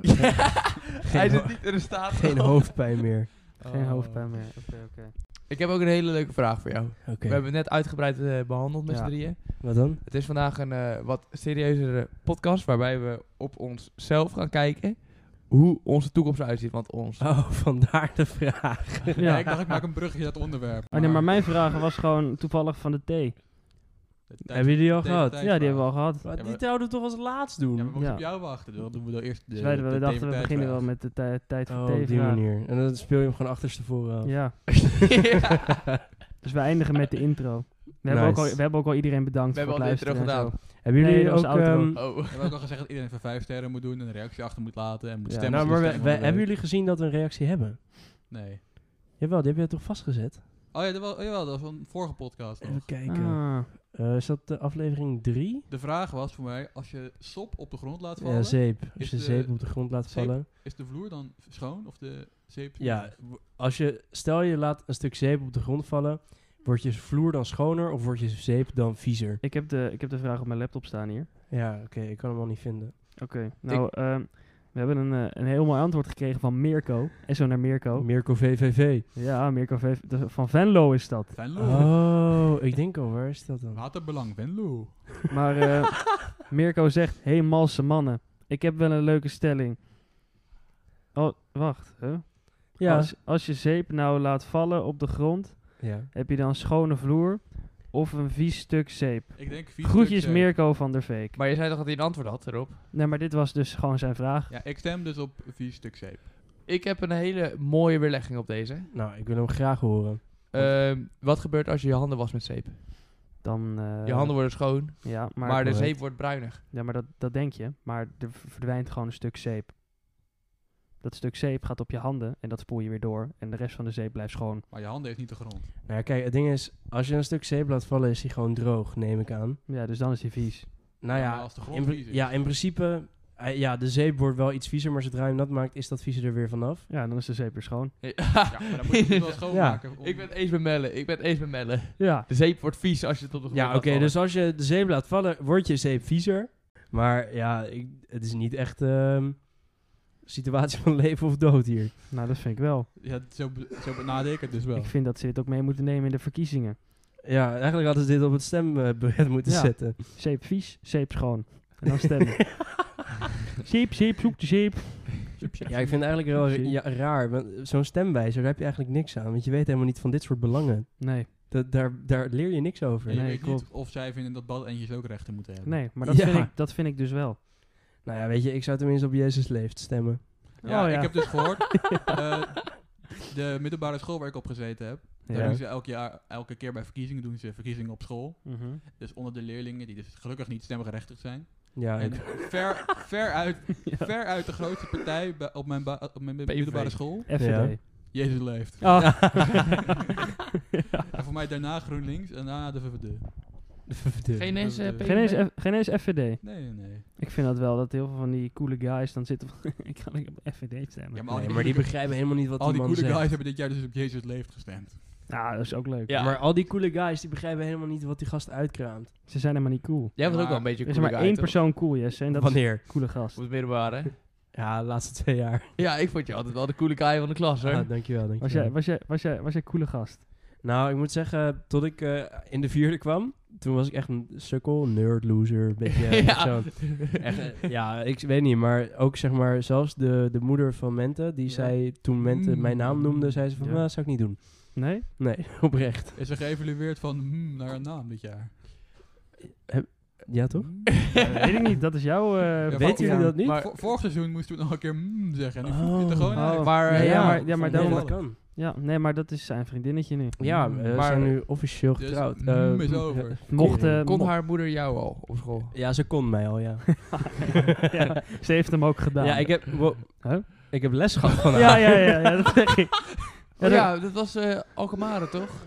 S2: Hij zit
S4: ho-
S2: niet in de staat.
S4: Geen
S2: om-
S4: hoofdpijn meer.
S3: Geen
S2: Oh.
S3: hoofdpijn meer. Oké, oké.
S2: Ik heb ook een hele leuke vraag voor jou.
S4: Oké,
S2: We hebben het net uitgebreid eh, behandeld met
S3: Ja.
S2: z'n drieën.
S4: wat dan?
S2: Het is vandaag een eh, wat serieuzere podcast waarbij we op onszelf gaan kijken hoe onze toekomst eruit ziet. Want ons.
S4: Oh, vandaar de vraag.
S1: Ja.
S3: Ja.
S1: ik dacht ik maak een brugje naar het onderwerp.
S3: Oh nee, maar mijn vraag was gewoon toevallig van de thee.
S1: De tijd-
S4: Hebben jullie die al
S1: Deze
S4: gehad?
S1: tijd-
S3: Ja, die hebben we al gehad.
S4: Maar
S1: Ja,
S4: die
S1: maar-
S4: zouden we toch als laatst doen?
S1: Ja, maar we moeten
S3: Ja.
S1: op jou wachten. Dan doen we dan eerst de
S3: Dus wij
S1: de
S3: we dachten, we
S1: thematijdvraag.
S3: beginnen wel met de tij- tijd van
S4: oh,
S3: thee
S4: op die
S3: vraag.
S4: manier. En dan speel je hem gewoon achterstevoren af.
S3: Ja,
S2: Ja.
S3: dus we eindigen met de intro. We, hebben, ook
S4: Nice.
S3: al, we hebben ook al iedereen bedankt
S2: We
S3: voor het
S2: hebben al de
S3: luisteren
S2: intro
S3: en zo.
S4: Hebben jullie
S3: Nee, dat
S4: ook...
S3: was outro.
S4: ehm,
S2: Oh.
S1: We hebben ook al gezegd dat iedereen van vijf sterren moet doen en een reactie achter moet laten en moet
S3: Ja,
S1: stemmen.
S4: nou,
S1: op de
S4: maar we,
S1: stem
S4: we-
S1: van de
S4: hebben
S1: week.
S4: jullie gezien dat we een reactie hebben?
S1: Nee.
S4: Jawel, die heb je toch vastgezet?
S1: Oh ja, dat, wel, jawel, dat was van de vorige podcast nog.
S4: Even kijken.
S3: Ah,
S4: Eh, is dat de aflevering 3?
S1: De vraag was voor mij, als je sop op de grond laat vallen,
S4: Ja, zeep. Als
S1: Is
S4: je
S1: de-
S4: zeep op de grond laat
S1: zeep-
S4: vallen.
S1: is de vloer dan schoon of de zeep?
S4: Ja, w- als je, stel je laat een stuk zeep op de grond vallen, wordt je vloer dan schoner of wordt je zeep dan viezer?
S3: ik, heb de, ik heb de vraag op mijn laptop staan hier.
S4: Ja, oké, ik kan hem al niet vinden.
S3: Oké, nou, ehm, we hebben een, eh, een heel mooi antwoord gekregen van Mirko. En zo naar Mirko.
S4: Mirko VVV.
S3: Ja, Mirko Vee- de- van Venlo is dat.
S1: Venlo.
S4: Oh, ik denk al, waar is dat
S3: Ah,
S4: dan?
S1: Waterbelang, Venlo.
S3: Maar eh, Mirko zegt, hey malse mannen, ik heb wel een leuke stelling. Oh, wacht. Huh?
S4: Ja.
S3: Als, als je zeep nou laat vallen op de grond,
S4: ja.
S3: heb je dan schone vloer of een vies stuk zeep?
S1: Ik denk vier
S3: Groetjes
S1: stuk zeep.
S3: Mirko van der Veek.
S2: Maar je zei toch dat hij een antwoord had erop?
S3: Nee, maar dit was dus gewoon zijn vraag.
S1: Ja, ik stem dus op vier stuk zeep.
S2: Ik heb een hele mooie weerlegging op deze.
S4: Nou, ik wil hem graag horen.
S2: Ehm, wat gebeurt als je je handen wast met zeep?
S3: Dan, eh,
S2: Je handen worden schoon,
S3: Ja, maar,
S2: maar, de
S4: correct.
S2: zeep wordt bruinig.
S3: ja, maar dat, dat denk je. Maar er v- verdwijnt gewoon een stuk zeep. Dat stuk zeep gaat op je handen en dat spoel je weer door. En de rest van de zeep blijft schoon.
S1: Maar je handen heeft niet de grond.
S4: Nou ja, kijk, het ding is, als je een stuk zeep laat vallen, is hij gewoon droog, neem ik aan.
S3: Ja, dus dan is die vies.
S1: Maar
S4: Nou ja,
S1: als de
S4: in,
S1: grond
S4: pri-
S1: vies is.
S4: ja in principe, eh, ja, de zeep wordt wel iets viezer, maar zodra je hem nat maakt, is dat vieze er weer vanaf.
S3: Ja, dan is de zeep weer schoon.
S1: Ja, maar dan moet je het wel schoonmaken. om-
S2: ik ben het eens met Melle, ik ben het eens met Melle.
S3: Ja.
S2: De zeep wordt vies als je het op de grond
S4: Ja,
S2: laat
S4: oké,
S2: vallen.
S4: dus als je de zeep laat vallen, wordt je zeep viezer. Maar ja, ik, het is niet echt ehm situatie van leven of dood hier.
S3: Nou, dat vind ik wel.
S1: Ja, zo, be- zo benadeel ik het dus wel.
S3: Ik vind dat ze dit ook mee moeten nemen in de verkiezingen.
S4: Ja, eigenlijk hadden ze dit op het stembiljet moeten
S3: Ja.
S4: zetten.
S3: Zeep vies, zeep schoon. En dan stemmen. zeep, zeep, zoek de zeep.
S4: Ja, ik vind het eigenlijk wel ra- ja, raar. want Zo'n stemwijzer, daar heb je eigenlijk niks aan. Want je weet helemaal niet van dit soort belangen.
S3: Nee,
S4: Dat, daar, daar leer je niks over.
S1: En je
S3: Nee,
S1: weet
S3: klopt.
S1: niet of zij vinden dat balletjes ook rechten moeten hebben.
S3: nee, maar dat,
S4: Ja.
S3: vind ik, dat vind ik dus wel.
S4: Nou ja, weet je, ik zou tenminste op Jezus leeft stemmen.
S1: Ja,
S3: Oh, ja.
S1: ik heb dus gehoord. eh, de middelbare school waar ik op gezeten heb. Daar
S3: Ja.
S1: doen ze elk jaar, elke keer bij verkiezingen doen ze verkiezingen op school.
S3: Mhm.
S1: Dus onder de leerlingen, die dus gelukkig niet stemgerechtigd zijn.
S4: Ja,
S1: en
S4: ik-
S1: ver, ver, uit, ver uit de grootste partij bij- op mijn, ba- op mijn middelbare school.
S3: FVD.
S1: Jezus leeft.
S3: Ah.
S1: En voor mij daarna GroenLinks en daarna de VVD.
S4: dus-
S2: Geen eens eh,
S3: Geen eens, F- geen eens FVD.
S1: Nee, nee, nee.
S3: Ik vind dat wel dat heel veel van die coole guys dan zitten van... ik kan ook op FVD
S1: Ja,
S3: stemmen.
S1: maar al
S4: Nee,
S1: die,
S4: maar die
S1: coole-
S4: begrijpen helemaal niet wat
S1: al
S4: die
S1: die
S4: man
S1: coole
S4: zegt.
S1: guys hebben dit jaar dus op Jezus leeft gestemd.
S3: Ja, Nou, dat is ook leuk.
S2: Ja.
S4: Maar al die coole guys, die begrijpen helemaal niet wat die gast uitkraamt.
S3: Ze zijn helemaal niet cool.
S2: Jij was ook
S1: Maar-
S2: wel een beetje
S3: Er
S2: een
S3: is
S2: coole
S3: maar
S2: guy,
S3: één
S2: toch?
S3: persoon cool, Jesse. En dat is
S4: Wanneer?
S3: een coole gast.
S2: Op het middelbare. hè?
S4: Ja, de laatste twee jaar.
S2: Ja, ik vond je altijd wel de coole guy van de klas, hoor.
S4: Ah, dankjewel, dankjewel.
S3: Was jij, was, jij, was, jij, was jij coole gast?
S4: Nou, ik moet zeggen, tot ik eh, in de vierde kwam, toen was ik echt een sukkel, nerd, loser, een beetje eh,
S2: Ja.
S4: zo'n- Echt, eh, ja, ik weet niet, maar ook zeg maar, zelfs de, de moeder van Mente, die
S2: Ja.
S4: zei toen Mente
S1: Mm.
S4: mijn naam noemde, zei ze van,
S3: Ja.
S4: "Nou, dat zou ik niet doen.
S3: Nee?
S4: Nee, oprecht.
S1: Is er geëvalueerd van hmm, naar een naam dit jaar?
S4: Ja, toch?
S1: Hmm.
S3: Ja, dat weet ik niet. Dat is jouw... eh
S1: Ja,
S4: Weten
S1: ja.
S4: jullie dat niet?
S2: Maar-
S1: Vo- vorig seizoen moesten we nog een keer hmm zeggen. En nu
S4: Oh.
S1: voegt het er gewoon
S3: Oh.
S1: uit.
S2: Maar,
S3: Ja,
S2: eh,
S3: ja,
S2: ja,
S3: maar, ja, maar
S4: Nee,
S1: daarom-
S4: dat kan.
S3: Ja, nee, maar dat is zijn vriendinnetje nu.
S4: Ja,
S1: Mm.
S4: we
S2: Maar-
S4: zijn nu officieel
S1: Dus
S4: getrouwd.
S1: mm
S4: Eh,
S1: is over.
S3: Mocht... eh,
S2: Kon
S3: mo-
S2: haar moeder jou al op school?
S4: Ja, ze kon mij al, ja. Nou.
S3: ja, ze heeft hem ook gedaan.
S4: ja, ik heb, wo-
S3: Huh?
S4: ik heb les gehad van haar.
S3: ja, ja, ja, ja, dat zeg ik.
S2: Ja,
S3: Ja, dat-
S2: dat was eh Alkmaar, toch?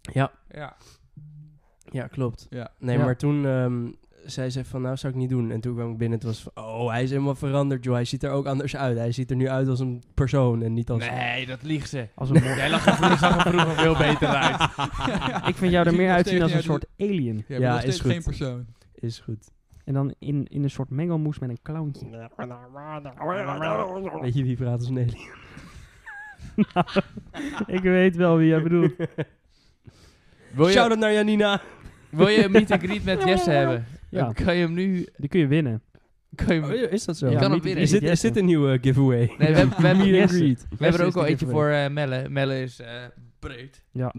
S4: Ja.
S2: Ja.
S4: Ja, klopt.
S1: Ja.
S4: Nee,
S3: Ja.
S4: maar toen ehm, zei ze van, nou zou ik niet doen. En toen kwam ik binnen en toen was het van, oh, hij is helemaal veranderd, joh. Hij ziet er ook anders uit. Hij ziet er nu uit als een persoon en niet als...
S2: Nee, dat liegt ze.
S3: Als een mo-
S2: Jij lag er vroeger- zag er vroeger veel beter uit.
S3: ik vind jou er
S1: Je ziet
S3: meer
S1: nog
S3: uitzien
S1: steeds
S3: als
S1: niet
S3: een
S1: uit
S3: soort alien.
S1: Ja,
S4: Ja,
S1: ja
S4: is
S1: is
S4: goed.
S1: geen persoon.
S4: Is goed.
S3: En dan in, in een soort mengelmoes met een clowntje.
S4: Weet je wie praat als Nelly?
S3: ik weet wel wie jij bedoelt.
S2: Wil je,
S4: Shout-out naar Janina.
S2: wil je een meet and greet met Jesse hebben?
S3: Ja.
S2: Dan Kan je hem nu...
S3: Die kun je winnen.
S2: Kan je hem-
S4: is dat zo?
S2: Je
S3: Ja,
S2: kan hem
S3: meet-
S2: winnen.
S4: is, dit, is
S3: Jesse.
S4: dit een nieuwe giveaway?
S2: Nee, we hebben, we hebben,
S4: Meet and
S3: Jesse.
S4: greet.
S2: we hebben er ook
S4: is
S2: al
S4: de
S2: eentje voor eh, Melle. Melle is eh, breed.
S3: Ja.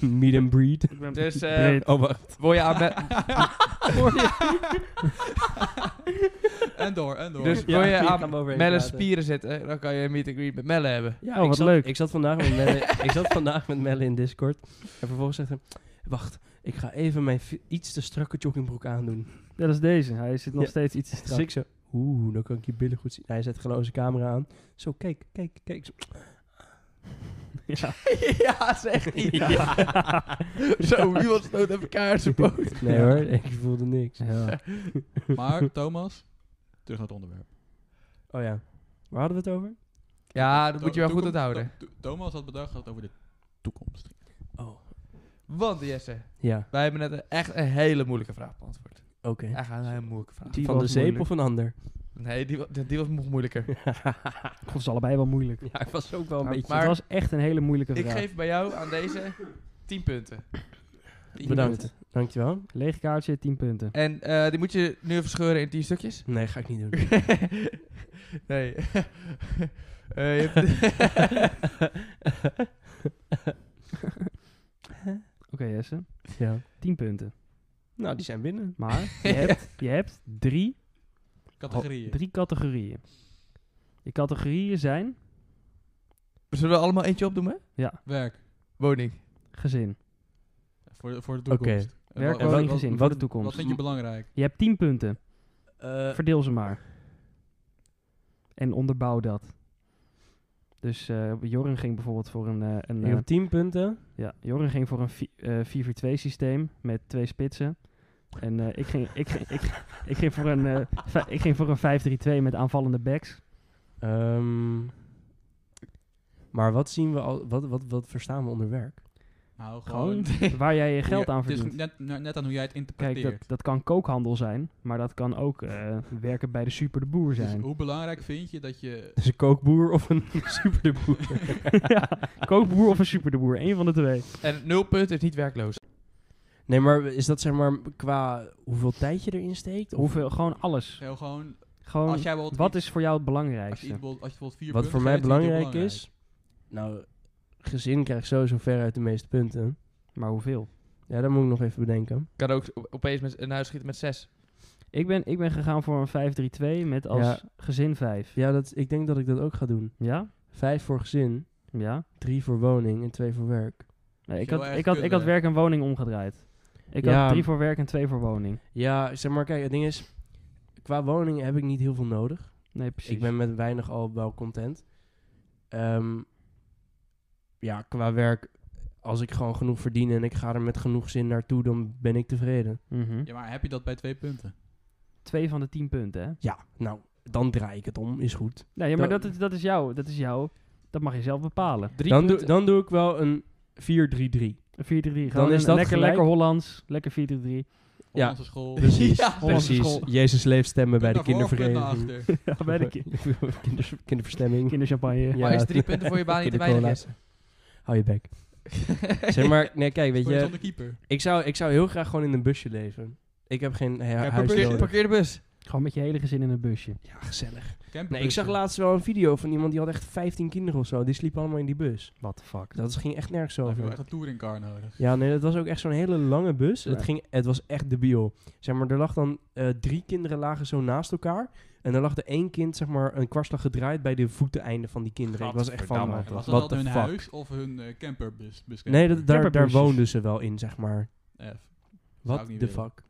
S4: Meet and breed.
S2: Dus eh,
S3: Breed.
S4: Oh, wacht.
S2: wil je aan Me-
S1: En door, en door.
S2: dus
S4: Ja,
S2: wil je
S4: hier
S2: aan
S4: gaan we overheen
S2: Melle
S4: praten.
S2: spieren zetten, dan kan je een meet and greet met Melle hebben.
S4: Ja,
S3: Oh,
S4: ik
S3: wat
S4: zat,
S3: leuk.
S4: Ik zat, vandaag met Melle, ik zat vandaag met Melle in Discord. En vervolgens zegt hij... Wacht, ik ga even mijn fi- iets te strakke joggingbroek aandoen.
S3: Ja, dat is deze. Hij zit nog
S4: Ja.
S3: steeds iets te
S4: Dus
S3: strak.
S4: ik zo... Oeh, dan kan ik je billen goed zien. Hij zet gewoon zijn camera aan. Zo, kijk, kijk, kijk. Ik zo,
S3: Ja.
S2: ja, dat is echt niet. Zo, wie was dood even kaars op poot.
S4: Nee hoor, ik voelde niks.
S3: Ja.
S1: Maar Thomas, terug naar het onderwerp.
S4: Oh ja, waar hadden we het over?
S2: Ja, dat
S1: To-
S2: moet je wel goed
S1: toekom-
S2: onthouden.
S1: to- Thomas had bedacht dat het over de toekomst. ging.
S4: Oh,
S2: Want Jesse,
S4: ja,
S2: wij hebben net een- echt een hele moeilijke vraag beantwoord.
S4: oké.
S2: Echt een hele moeilijke vraag.
S3: Die
S4: Van de
S3: was
S4: zeep
S3: moeilijk.
S4: of een ander?
S2: Nee, die, wa- die, die was nog moeilijker.
S3: Ik vond ze allebei wel moeilijk.
S4: Ja, ik was ook wel een
S3: Maar
S4: beetje...
S3: het was echt een hele moeilijke
S2: Ik
S3: vraag.
S2: geef bij jou aan deze 10 punten. 10
S4: Bedankt, dankjewel.
S3: Leeg kaartje, 10 punten.
S2: En eh, die moet je nu even scheuren in 10 stukjes.
S4: Nee, ga ik niet doen.
S2: nee. Eh, je hebt-
S3: Oké, Jesse.
S4: ja.
S3: 10 punten.
S4: Nou, die zijn binnen.
S3: Maar je hebt, je hebt drie,
S1: Categorieën.
S3: Oh, drie categorieën. Die categorieën zijn
S2: Zullen we allemaal eentje opdoen, hè?
S1: Werk.
S2: Woning.
S3: gezin.
S1: Voor de, voor de
S4: Oké.
S1: toekomst. En wa-
S3: Werk,
S4: woning,
S1: wa-
S3: woning,
S1: wa-
S3: gezin
S4: wat-
S3: voor de
S1: Wat
S3: toekomst.
S1: vind je belangrijk?
S3: Je hebt 10 punten.
S4: Eh,
S3: Verdeel ze maar. En onderbouw dat. Dus eh Jorren ging bijvoorbeeld voor een... eh, een
S4: ik
S3: eh,
S4: heb 10 punten.
S3: ja, Jorren ging voor een vi- eh, 4-4-2 systeem met twee spitsen. En eh, ik, ging, ik, ging, ik, ik ging voor een, eh, vij- ik ging voor een 5-3-2 met aanvallende backs.
S4: Ehm, maar wat zien we al, wat, wat, wat verstaan we onder werk?
S1: Nou,
S3: Gewoon
S1: gewoon...
S3: waar jij je geld
S1: Ja,
S3: aan
S1: het is
S3: verdient.
S1: net, na- net aan hoe jij het
S3: Kijk,
S1: interpreteert.
S3: dat, dat kan kookhandel zijn, maar dat kan ook eh, werken bij de super de boer
S1: Dus
S3: zijn.
S1: hoe belangrijk vind je dat je...
S4: Dus een kookboer of een superboer?
S3: ja, kookboer of een super de boer, één van de twee.
S2: En 0 punten is niet werkloos.
S4: Nee, maar is dat zeg maar qua hoeveel tijd je erin steekt? Of
S3: Hoeveel, gewoon alles.
S1: Heel eh, gewoon,
S3: Gewoon,
S1: als jij bijvoorbeeld
S3: wat
S1: iets-
S3: is voor jou het
S1: als je, iets
S3: belangrijkste?
S1: bijvoorbeeld- als je bijvoorbeeld vier
S4: wat
S1: punten
S4: voor mij
S1: geeft, vind je
S4: belangrijk,
S1: het
S4: is? Nou, gezin krijgt sowieso ver uit de meeste punten.
S3: Maar hoeveel?
S4: Ja, dat moet ik nog even bedenken.
S2: Kan ook op- opeens met een huis schieten met 6.
S3: Ik ben, ik ben gegaan voor een 5-3-2 met als
S4: Ja.
S3: gezin 5.
S4: Ja, dat, ik denk dat ik dat ook ga doen.
S3: Ja?
S4: Vijf voor gezin,
S3: Ja?
S4: drie voor woning en twee voor werk.
S3: Nee, ik,
S1: Zou
S3: had,
S1: echt
S3: ik, had, ik
S1: kunnen.
S3: had werk en woning omgedraaid. Ik
S4: Ja.
S3: had drie voor werk en twee voor woning.
S4: Ja, zeg maar, kijk, het ding is... Qua woning heb ik niet heel veel nodig.
S3: Nee, precies.
S4: Ik ben met weinig al wel content. Ehm, ja, qua werk, als ik gewoon genoeg verdien en ik ga er met genoeg zin naartoe, dan ben ik tevreden.
S3: Mhm.
S1: Ja, maar heb je dat bij twee punten?
S3: Twee van de tien punten, hè?
S4: Ja, nou, dan draai ik het om, is goed.
S3: Nee, ja, maar
S4: Dat-
S3: dat, is- dat is jou. Dat is jou. Dat mag je zelf bepalen.
S2: Drie
S4: Dan, doe-
S2: punten.
S4: dan doe ik wel een 4-4-2 4-3-3.
S3: Een 4-3. Gewoon
S4: Dan is
S3: een
S4: dat
S3: lekker,
S4: gelijk.
S3: lekker Hollands. Lekker 4-3.
S1: Op
S4: Ja.
S1: onze school.
S4: Precies,
S2: Ja,
S3: Hollandse
S4: precies.
S3: school.
S4: Jezus leeft stemmen bij de
S1: Punt naar voren, punt naar
S4: kindervereniging.
S1: achter.
S3: Ja, bij de ki-
S4: Kinders- kinderverstemming.
S3: kinderchampagne.
S4: Ja.
S2: Maar is drie punten voor je baan niet te weinig?
S4: Kindercola's. Hou je bek. Zeg maar, nee, kijk, weet
S1: Speel je
S4: je,
S1: zonder keeper.
S4: ik zou, ik zou heel graag gewoon in een busje leven. Ik heb geen he-
S2: Ja,
S4: huis
S2: parkeer,
S4: nodig.
S2: parkeer de bus.
S3: Gewoon met je hele gezin in een busje.
S4: Ja, gezellig. Nee, ik
S1: Camperbussen.
S4: zag laatst wel een video van iemand die had echt 15 kinderen of zo. Die sliepen allemaal in die bus.
S3: What the fuck.
S4: Dat is- ging echt nergens
S1: Dan heb je wel
S4: over.
S1: echt een touringcar nodig.
S4: Ja, nee, dat was ook echt zo'n hele lange bus.
S3: Ja.
S4: Het, ging, het was echt debiel. Zeg maar, er lag dan eh, drie kinderen lagen zo naast elkaar. En er lag er één kind, zeg maar, een kwartslag gedraaid bij de voeteneinde van die kinderen. Ik was echt van,
S1: Gadverdamme.
S3: wat
S1: En Was
S4: de-
S1: dat
S4: what
S1: dan
S4: the
S1: hun
S4: fuck?
S1: huis of hun eh, camperbus? bus
S4: nee, dat, daar, daar
S3: Camperbusjes.
S4: woonden ze wel in, zeg maar.
S1: camper? F.
S4: Wat
S1: ik niet
S4: de
S1: willen.
S4: fuck?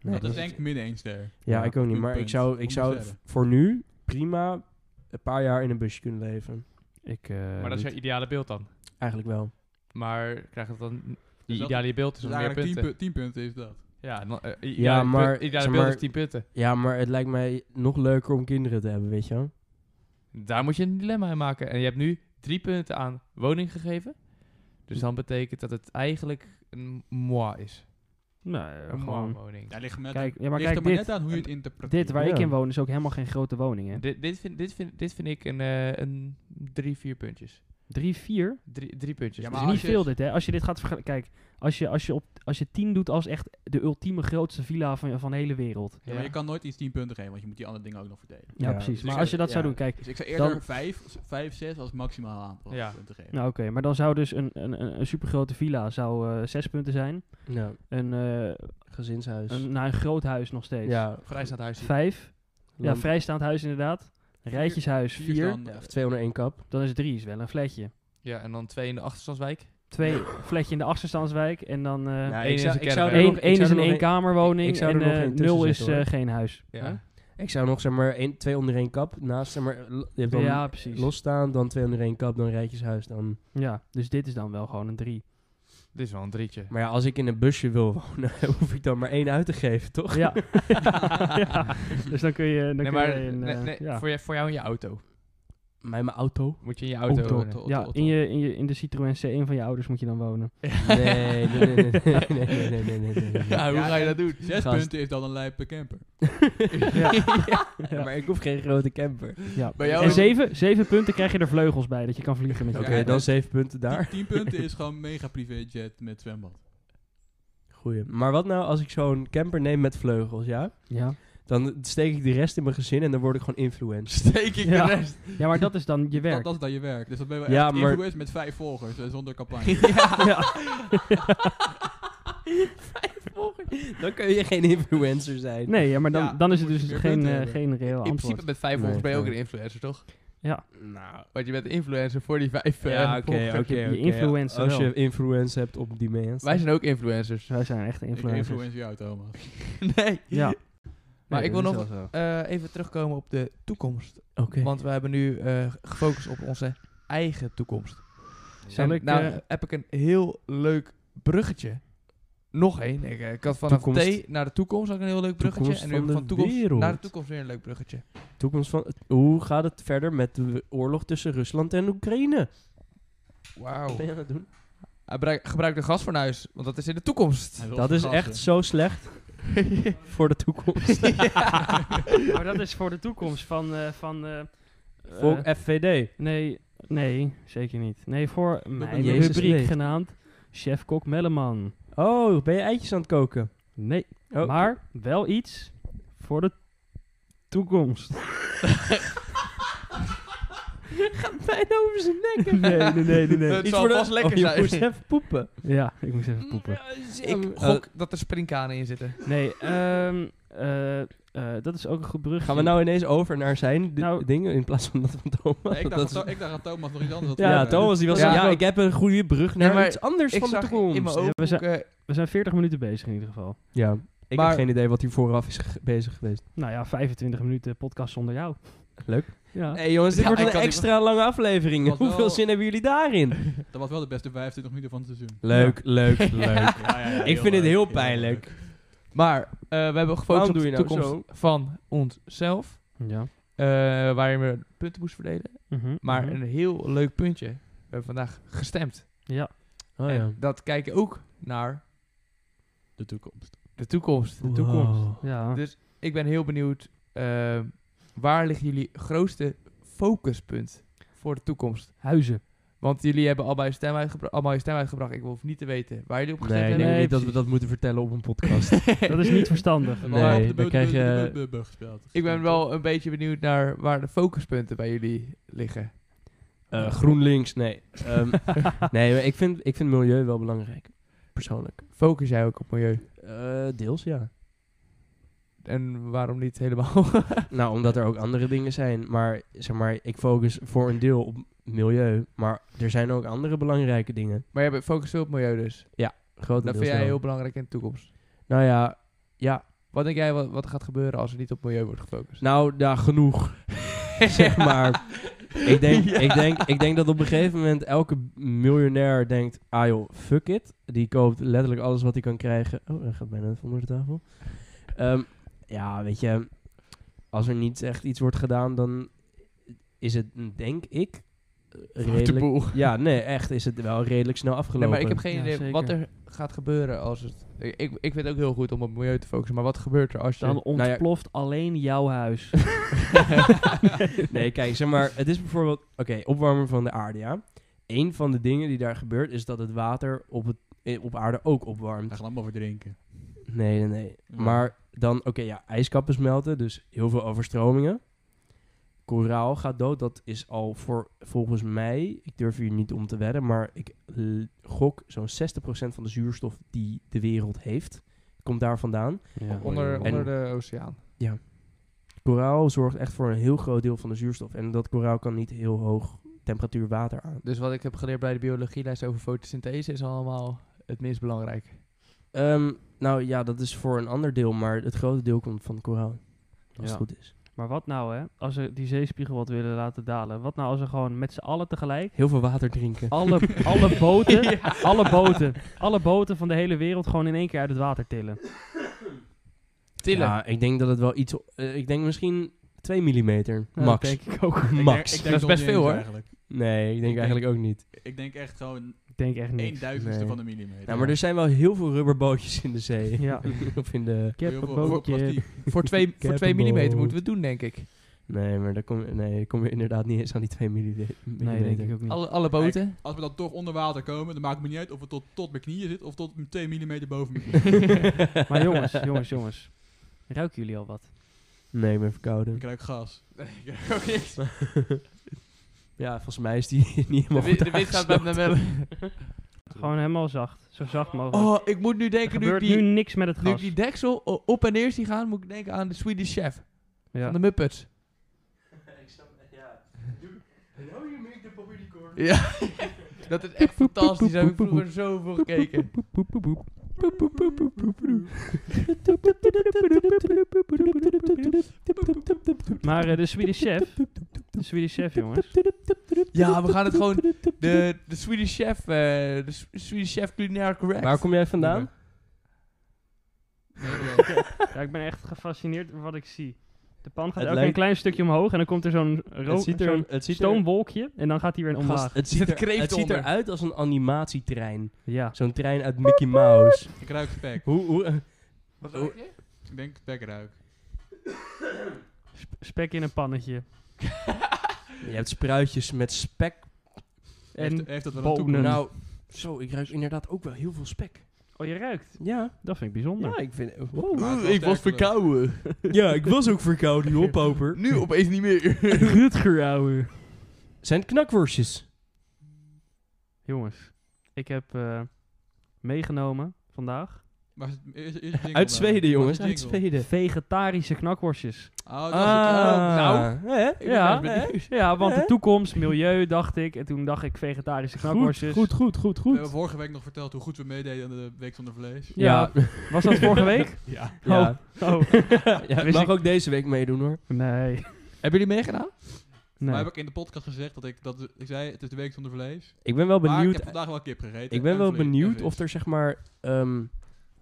S3: Nee,
S1: dat is
S4: dat-
S1: denk ik min één ster.
S4: Ja,
S3: Ja,
S4: ik ook niet.
S1: puur
S4: Maar ik
S1: punt.
S4: zou, ik
S1: Om
S4: zou
S1: jezelf.
S4: voor nu prima een paar jaar in een busje kunnen leven.
S3: Ik, eh,
S2: Maar dat is
S3: niet.
S2: jouw ideale beeld dan.
S4: Eigenlijk wel.
S2: Maar krijg je dan... Je
S1: Dus dat-
S2: ideale beeld is
S1: Dus
S2: dan meer
S1: eigenlijk tien,
S2: punten.
S1: pu- tien punten is dat.
S2: Ja, en dan, eh, i-
S4: Ja,
S2: ideale punt-
S4: maar,
S2: Ideale
S4: zeg
S2: beeld
S4: maar-
S2: is 10 punten.
S4: Ja, maar het lijkt mij nog leuker om kinderen te hebben, weet je wel?
S2: Daar moet je een dilemma in maken. En je hebt nu drie punten aan woning gegeven. Dus dan betekent dat het eigenlijk een moi is.
S3: Nee,
S2: Een moi
S3: gewoon...
S2: woning.
S1: Ja, ligt, met,
S3: Kijk, ja, maar
S1: ligt
S3: kijk,
S1: er maar
S3: dit,
S1: net aan hoe je het interpreteert.
S3: dit waar ik
S4: Ja.
S3: in woon is ook helemaal geen grote woning, hè.
S2: Dit, dit, vind, dit, vind, dit vind ik een, eh, een drie, vier puntjes.
S3: Drie, vier.
S2: Drie, drie puntjes.
S1: Ja,
S3: Dat
S1: maar
S3: is niet
S1: als je-
S3: veel dit, hè. Als je dit gaat vergelijken... Kijk, als je, als, je op, als je tien doet als echt de ultieme grootste villa van, van de hele wereld.
S1: Ja, maar je kan nooit iets tien punten geven, want je moet die andere dingen ook nog verdelen.
S3: Ja,
S4: Ja,
S3: precies.
S4: dus
S3: Maar
S1: ik-
S3: als je dat
S4: ja.
S3: zou doen, kijk...
S1: Dus ik zou eerder
S3: Dan-
S1: vijf, vijf, zes als maximaal aantal
S2: Ja.
S1: punten geven.
S3: Nou, oké. Maar dan zou dus een, een, een, een supergrote villa zou eh, zes punten zijn.
S4: Ja,
S3: Een, eh,
S4: gezinshuis.
S3: een, nou, een groot huis nog steeds.
S4: Dus- ja,
S2: Vrijstaand huis.
S3: Vijf. Ja,
S4: land-
S3: vrijstaand huis inderdaad. Rijtjeshuis
S1: Vier
S3: vier.
S1: dan,
S4: ja,
S1: eh,
S4: of twee onder één kap.
S3: Dan is het drie, is wel een flatje.
S2: Ja, en dan twee in de achterstandswijk.
S3: Twee, flatje in de achterstandswijk. En dan eh
S4: Ja,
S2: één is een
S4: er
S2: caravan.
S3: één,
S4: nog-
S3: één
S4: ik
S3: is
S4: zou
S3: een
S4: er nog
S3: eenkamerwoning.
S4: ik zou er
S3: en
S4: nog
S3: eh,
S4: één tussen
S3: nul is
S4: zetten,
S3: eh,
S4: hoor.
S3: geen huis.
S2: Ja.
S4: Huh? Ik zou nog zeg maar één, twee onder één kap. Naast zeg maar, l- je hebt dan
S3: Ja, precies.
S4: losstaan, dan twee onder één kap, dan rijtjeshuis. Dan.
S3: Ja, dus dit is dan wel gewoon een drie.
S2: Dit is wel een drietje.
S4: Maar ja, als ik in een busje wil wonen, hoef ik dan maar één uit te geven, toch?
S3: Ja. ja. Dus dan kun je, dan
S2: nee,
S3: kun
S2: maar
S3: je een,
S2: nee,
S3: eh,
S2: nee,
S3: ja.
S2: voor, jou, voor jou in je auto.
S4: Mijn, mijn auto.
S2: Moet je in je auto
S3: Auto.
S2: wonen.
S1: Otto,
S3: ja,
S1: Otto.
S3: in, je, in, je, in de Citroën C1 van je ouders moet je dan wonen.
S4: Nee, nee, nee, nee, nee, nee, nee, nee, nee, nee, nee.
S2: Ja, hoe
S1: Ja,
S2: ga je
S1: en
S2: dat doen?
S1: Zes
S4: Gast.
S1: punten is dan een lijpe camper.
S4: ja. Maar ik hoef geen grote camper.
S3: Ja.
S2: Bij jou
S3: en
S2: ook-
S3: zeven, zeven punten krijg je er vleugels bij, dat je kan vliegen met je
S4: Oké, dus-
S1: Ja,
S4: dan
S1: dat-
S4: zeven punten
S1: Tien,
S4: daar.
S1: tien punten is gewoon mega privéjet met zwembad.
S4: Goeie. Maar wat nou als ik zo'n camper neem met vleugels, ja?
S3: Ja.
S4: Dan steek ik de rest in mijn gezin en dan word ik gewoon influenced.
S2: Steek ik
S3: Ja.
S2: de rest.
S3: ja, maar dat is dan je
S1: Dat,
S3: werk.
S1: dat is dan je werk. Dus dat ben je wel
S4: Ja,
S1: echt
S4: maar-
S1: influencer met vijf volgers eh, zonder campagne.
S3: ja.
S4: Dan kun je geen influencer zijn.
S3: Nee, ja, maar dan,
S1: Ja,
S3: dan is het
S1: moet
S3: dus
S1: je meer
S3: geen,
S1: punten
S3: eh,
S1: hebben.
S3: geen reëel
S2: In
S3: antwoord.
S2: principe met vijf volgers
S4: Nee,
S2: ben je ook een
S4: fair.
S2: influencer, toch?
S4: Nou.
S2: Want je bent een influencer voor die vijf eh,
S4: Ja, oké,
S2: volgers.
S4: oké.
S3: je
S4: oké.
S3: influencer
S4: Als
S3: wel.
S4: je influence hebt op demand.
S2: Wij zijn ook influencers.
S3: Dus wij zijn echt
S1: ik
S3: influencers.
S1: influencer jou, Thomas.
S2: nee.
S3: Ja.
S2: Maar
S3: Nee,
S2: ik wil
S3: dat
S2: nog
S3: is wel zo.
S2: eh, even terugkomen op de toekomst.
S4: Oké.
S2: Want we hebben nu eh, gefocust op onze eigen toekomst.
S3: Zal
S2: En
S3: ik,
S2: nou
S3: eh,
S2: heb ik een heel leuk bruggetje. Nog één. Ik, eh, ik had vanaf
S4: Toekomst.
S2: thee naar de toekomst ook een heel leuk bruggetje.
S4: Toekomst
S2: en nu
S4: van
S2: heb ik
S4: de
S2: van toekomst
S4: wereld.
S2: naar de toekomst weer een leuk bruggetje.
S4: Toekomst van... Hoe gaat het verder met de oorlog tussen Rusland en Oekraïne?
S2: Wauw.
S4: Wat ben je aan het doen?
S2: Gebruik, gebruik de gasfornuis, want dat is in de toekomst.
S1: Hij wil
S4: Dat is
S1: vergassen.
S4: echt zo slecht voor de toekomst.
S3: maar dat is voor de toekomst van... eh, van eh,
S4: Voor
S3: eh,
S4: FVD.
S3: nee, nee, zeker niet. Nee, voor mijn
S4: Jezus
S3: rubriek
S4: leeft.
S3: genaamd Chef-kok Melleman.
S4: Oh, ben je eitjes aan het koken?
S3: Nee,
S4: Oh.
S3: maar wel iets voor de toekomst.
S4: Gaat bijna over zijn nek.
S3: nee, nee, nee, nee.
S2: Het
S3: nee.
S2: zal vast lekker
S4: oh, je
S2: zijn.
S4: moest even poepen.
S3: Mm,
S4: eh,
S3: Ja, ik moest even poepen.
S2: Ik gok dat er springkanen in zitten.
S3: Nee, ehm, eh, eh, dat is ook een goed brug.
S4: gaan we nou ineens over naar zijn di-
S3: Nou-
S4: dingen in plaats van dat van Thomas?
S1: Nee, ik,
S4: Dat
S1: dacht
S4: is-
S1: dat, ik dacht dat Thomas nog iets anders had
S4: ja,
S1: voorbereid.
S4: Thomas die was
S2: Ja.
S4: ja, ja, ik heb een goede brug naar
S2: Nee, maar
S4: iets anders
S2: Ik
S4: van de
S2: zag in
S4: toekomst.
S2: mijn
S3: Ja, we
S2: ooghoek...
S3: zijn-
S2: eh,
S3: We zijn 40 minuten bezig in ieder geval.
S4: Ja, ik
S2: Maar-
S4: heb geen idee wat hier vooraf is ge- bezig geweest.
S3: Nou ja, 25 minuten podcast zonder jou.
S4: Leuk.
S3: Ja.
S4: hey, jongens, Dus dit
S2: Ja, ik
S4: wordt een
S2: kan niet-
S4: extra lange aflevering.
S1: Was wel-
S4: Hoeveel zin hebben jullie daarin?
S1: Dat was wel de beste 25 minuten van het seizoen.
S4: Leuk, leuk, leuk.
S1: Ja, ja, ja,
S4: Ik vind het heel
S1: leuk,
S4: pijnlijk.
S1: leuk.
S2: maar eh, we hebben gefocust
S4: Waarom
S2: op
S4: doe
S2: de
S4: je nou
S2: toekomst
S4: zo?
S2: van onszelf.
S3: ja.
S2: eh, waarin we punten moesten verdelen.
S3: Mhm,
S2: Maar
S3: mhm.
S2: een heel leuk puntje. We hebben vandaag gestemd.
S3: Ja.
S4: Oh
S2: En
S4: ja.
S2: dat kijkt ook naar
S1: De toekomst.
S2: de toekomst. De toekomst.
S3: Oh. Ja,
S2: Dus ik ben heel benieuwd, eh, waar ligt jullie grootste focuspunt voor de toekomst?
S3: huizen.
S2: Want jullie hebben allemaal je stem, uitgebra- allemaal je stem uitgebracht. Ik hoef niet te weten waar jullie op gestemd
S4: Nee, ik
S2: hebben.
S4: denk
S3: Nee,
S4: niet dat we
S3: precies.
S4: dat moeten vertellen op een podcast.
S3: Dat is niet verstandig.
S1: We hebben
S4: Nee,
S1: al op de
S4: dan
S1: beul-
S4: krijg
S1: de- de-
S4: je-
S1: de- de- de- de- de- gespeeld.
S2: Ik ben wel een beetje benieuwd naar waar de focuspunten bij jullie liggen.
S4: Eh, GroenLinks, nee. Ehm, nee, maar ik vind, ik vind milieu wel belangrijk. Persoonlijk.
S2: Focus jij ook op milieu?
S4: Eh, deels, ja.
S2: En waarom niet helemaal?
S4: Nou, omdat er ook andere dingen zijn. Maar zeg maar, ik focus voor een deel op milieu. Maar er zijn ook andere belangrijke dingen.
S2: maar jij focust veel op milieu dus.
S4: Grotendeels
S2: Dat vind jij
S4: wel.
S2: heel belangrijk in de toekomst.
S4: Nou ja, ja.
S2: Wat denk jij wat, wat er gaat gebeuren als er niet op milieu wordt gefocust?
S4: Nou, ja, genoeg. zeg maar. Ik denk, ik, denk, ik denk dat op een gegeven moment elke miljonair denkt... Ah joh, fuck it. Die koopt letterlijk alles wat hij kan krijgen. Oh, hij gaat bijna onder de tafel. Ehm, ja, weet je... Als er niet echt iets wordt gedaan, dan is het, denk ik...
S2: de
S4: Redelijk,
S2: boel.
S4: ja, nee, echt is het wel redelijk snel
S2: Nee,
S4: afgelopen.
S2: maar ik heb geen
S3: Ja,
S2: idee
S3: zeker.
S2: wat er gaat gebeuren als het... Ik, ik vind het ook heel goed om op milieu te focussen, maar wat gebeurt er als je...
S3: Dan
S4: ja.
S3: ontploft alleen jouw huis.
S4: nee, kijk, zeg maar, het is bijvoorbeeld, oké, opwarmen van de aarde, ja. Eén van de dingen die daar gebeurt is dat het water op, het, eh, op aarde ook
S1: Daar
S4: opwarmt.
S1: gaan allemaal over drinken.
S4: Nee, nee, nee.
S1: Ja.
S4: Maar dan, oké, ja, ijskappen smelten, dus heel veel overstromingen. Koraal gaat dood, dat is al voor, volgens mij, ik durf hier niet om te wedden, maar ik l- gok zo'n 60% van de zuurstof die de wereld heeft, komt daar vandaan.
S2: O- onder,
S4: En-
S2: onder de oceaan.
S4: Koraal zorgt echt voor een heel groot deel van de zuurstof en dat koraal kan niet heel hoog temperatuur water aan.
S2: Dus wat ik heb geleerd bij de biologielijst over fotosynthese is allemaal het minst belangrijk.
S4: Ehm, nou ja, dat is voor een ander deel, maar het grote deel komt van koraal. Als
S3: Ja.
S4: het goed is.
S3: Maar wat nou, hè? Als we die zeespiegel wat willen laten dalen. Wat nou als we gewoon met z'n allen tegelijk...
S4: Heel veel water drinken.
S3: Alle, alle boten, alle boten, alle boten van de hele wereld gewoon in één keer uit het water tillen.
S2: Tillen.
S4: Ja, ik denk dat het wel iets... eh, ik denk misschien 2 mm.
S3: Nou,
S4: Max.
S3: Dat denk ik ook.
S4: Max.
S1: Ik denk- ik denk
S2: Dat is
S1: nog
S2: best
S1: niet
S2: veel,
S1: eens
S2: hoor.
S1: Eigenlijk.
S4: nee, ik denk
S1: Ik
S4: eigenlijk ook niet.
S1: Ik denk echt gewoon
S3: Ik denk echt
S1: één
S3: niet.
S1: duizendste
S4: Nee.
S1: van de millimeter.
S4: Nou, maar er zijn wel heel veel rubberbootjes in de zee.
S3: Ja.
S4: of in de...
S3: Ik heb
S1: Heel
S3: een
S1: veel- heel veel
S3: bootje.
S1: plastiek.
S2: voor 2 voor twee
S4: Capable.
S2: millimeter moeten we het doen, denk ik.
S4: Nee, maar daar kom, nee, kom je inderdaad niet eens aan die 2 mm.
S3: Nee, denk Hmm. ik ook niet.
S2: Alle, alle boten.
S1: Als we dan toch onder water komen, dan maakt het me niet uit of het tot, tot mijn knieën zit of tot 2 mm boven mijn knieën.
S3: Maar jongens, jongens, jongens. Ruiken jullie al wat?
S4: Nee, ik ben
S1: Ik
S4: verkouden.
S1: ruik gas. Nee, ik ruik ook niks.
S4: Ja, volgens mij is die niet
S2: De,
S4: helemaal
S2: wi-
S4: goed
S2: de wind gaat bij me
S4: aangesloten.
S3: Gewoon helemaal zacht. Zo zacht mogelijk.
S2: Oh, ik moet nu
S3: er
S2: denken, nu ik,
S3: gebeurt
S2: die,
S3: nu niks met het
S2: nu ik
S3: gas.
S2: die deksel o- op en neer zie gaan, moet ik denken aan de Swedish Chef
S3: Ja.
S2: van de Muppets. Ja, dat is echt fantastisch. Daar heb ik vroeger zoveel gekeken.
S3: Maar eh, de Swedish Chef. De Swedish Chef, jongens.
S2: Ja, we gaan het gewoon. De, de Swedish Chef. eh, de S- Swedish Chef Culinaire Correct.
S4: Waar kom jij vandaan?
S1: Nee, oké.
S3: Ja, ik ben echt gefascineerd door wat ik zie. De pan gaat
S4: Het
S3: elke keer een
S4: lijkt-
S3: klein stukje omhoog en dan komt er zo'n
S4: Het
S3: rook,
S4: ziet er,
S3: zo'n
S4: het ziet er-
S3: stoomwolkje en dan gaat hij weer
S4: Gast,
S3: omlaag.
S4: het
S2: Er
S4: ziet,
S2: zit
S4: er,
S2: kreeft
S4: het ziet
S2: onder.
S4: eruit als een animatietrein.
S3: Ja.
S4: Zo'n trein uit Mickey Mouse.
S1: ik ruik spek.
S4: Hoe, hoe, eh,
S2: Wat
S4: ruik
S2: je?
S1: Ik denk spek ruik.
S3: Sp- spek in een pannetje.
S4: je hebt spruitjes met spek.
S1: Heeft,
S2: eh-
S3: En,
S1: heeft dat wel een
S3: bonen.
S1: toekomst?
S4: Nou, zo, ik ruik inderdaad ook wel heel veel spek.
S3: oh, je ruikt.
S4: Ja,
S3: Dat vind ik bijzonder.
S4: ja ik vind...
S1: Maar het is wel
S2: ik was
S1: sterk,
S2: verkouden.
S4: Ja, ik was ook verkouden, joh, pauper.
S2: Nu opeens niet meer.
S3: Rutger, ouwe.
S4: Zijn het knakworstjes?
S3: Jongens, ik heb eh, meegenomen vandaag
S1: Maar is, is, is jingle
S4: Uit
S1: dan?
S4: Zweden, jongens.
S1: Waar
S4: Uit
S1: is jingle?
S4: Zweden.
S3: vegetarische knakworstjes.
S1: Oh, dat was het. Oh,
S4: Ah,
S1: nou.
S4: hè?
S2: ben
S3: ja,
S2: erg benieuwd.
S3: hè? ja, want de
S4: Hè?
S3: toekomst, milieu, dacht ik. En toen dacht ik vegetarische knakworstjes.
S4: Goed, goed, goed,
S1: We
S4: goed.
S1: hebben vorige week nog verteld hoe goed we meededen aan de Week zonder Vlees.
S3: Ja. Was dat vorige week?
S1: Ja.
S4: Ja.
S3: Oh,
S4: Ja,
S3: Wist
S4: mag
S3: ik-
S4: ook deze week meedoen, hoor.
S3: nee.
S2: Hebben jullie meegedaan?
S1: Maar
S3: nee.
S1: heb ik in de podcast gezegd dat ik, dat ik zei, het is de Week zonder Vlees.
S4: Ik ben wel
S1: Maar ik
S4: benieuwd
S1: heb vandaag wel kip gegeten.
S4: Ik ben
S1: en
S4: wel
S1: vlees- en
S4: benieuwd
S1: vis.
S4: of er zeg maar ehm,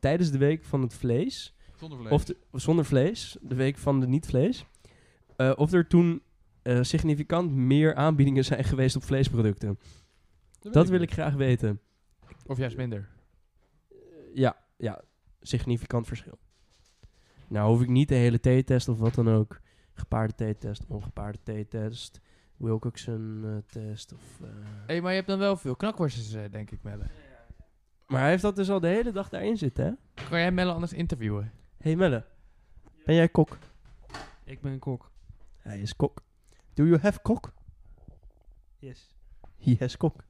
S4: tijdens de week van het vlees,
S1: Zonder vlees.
S4: of de- of zonder vlees, de week van de niet-vlees, eh, of er toen eh, significant meer aanbiedingen zijn geweest op vleesproducten.
S1: weet
S4: Dat wil ik graag weten.
S2: Of juist minder.
S4: Ja, ja, significant verschil. Nou hoef ik niet de hele T-test of wat dan ook. Gepaarde T-test, ongepaarde T-test, Wilcoxon-test. of eh,
S2: Hé, maar je hebt dan wel veel knakworstjes, eh, denk ik, Melle.
S4: Maar hij heeft dat dus al de hele dag daarin zitten, hè?
S2: Kan jij Melle anders interviewen?
S4: hey Melle, ben jij kok?
S3: Ik ben een kok.
S4: Hij is kok. Do you have kok?
S3: Yes.
S4: He has kok.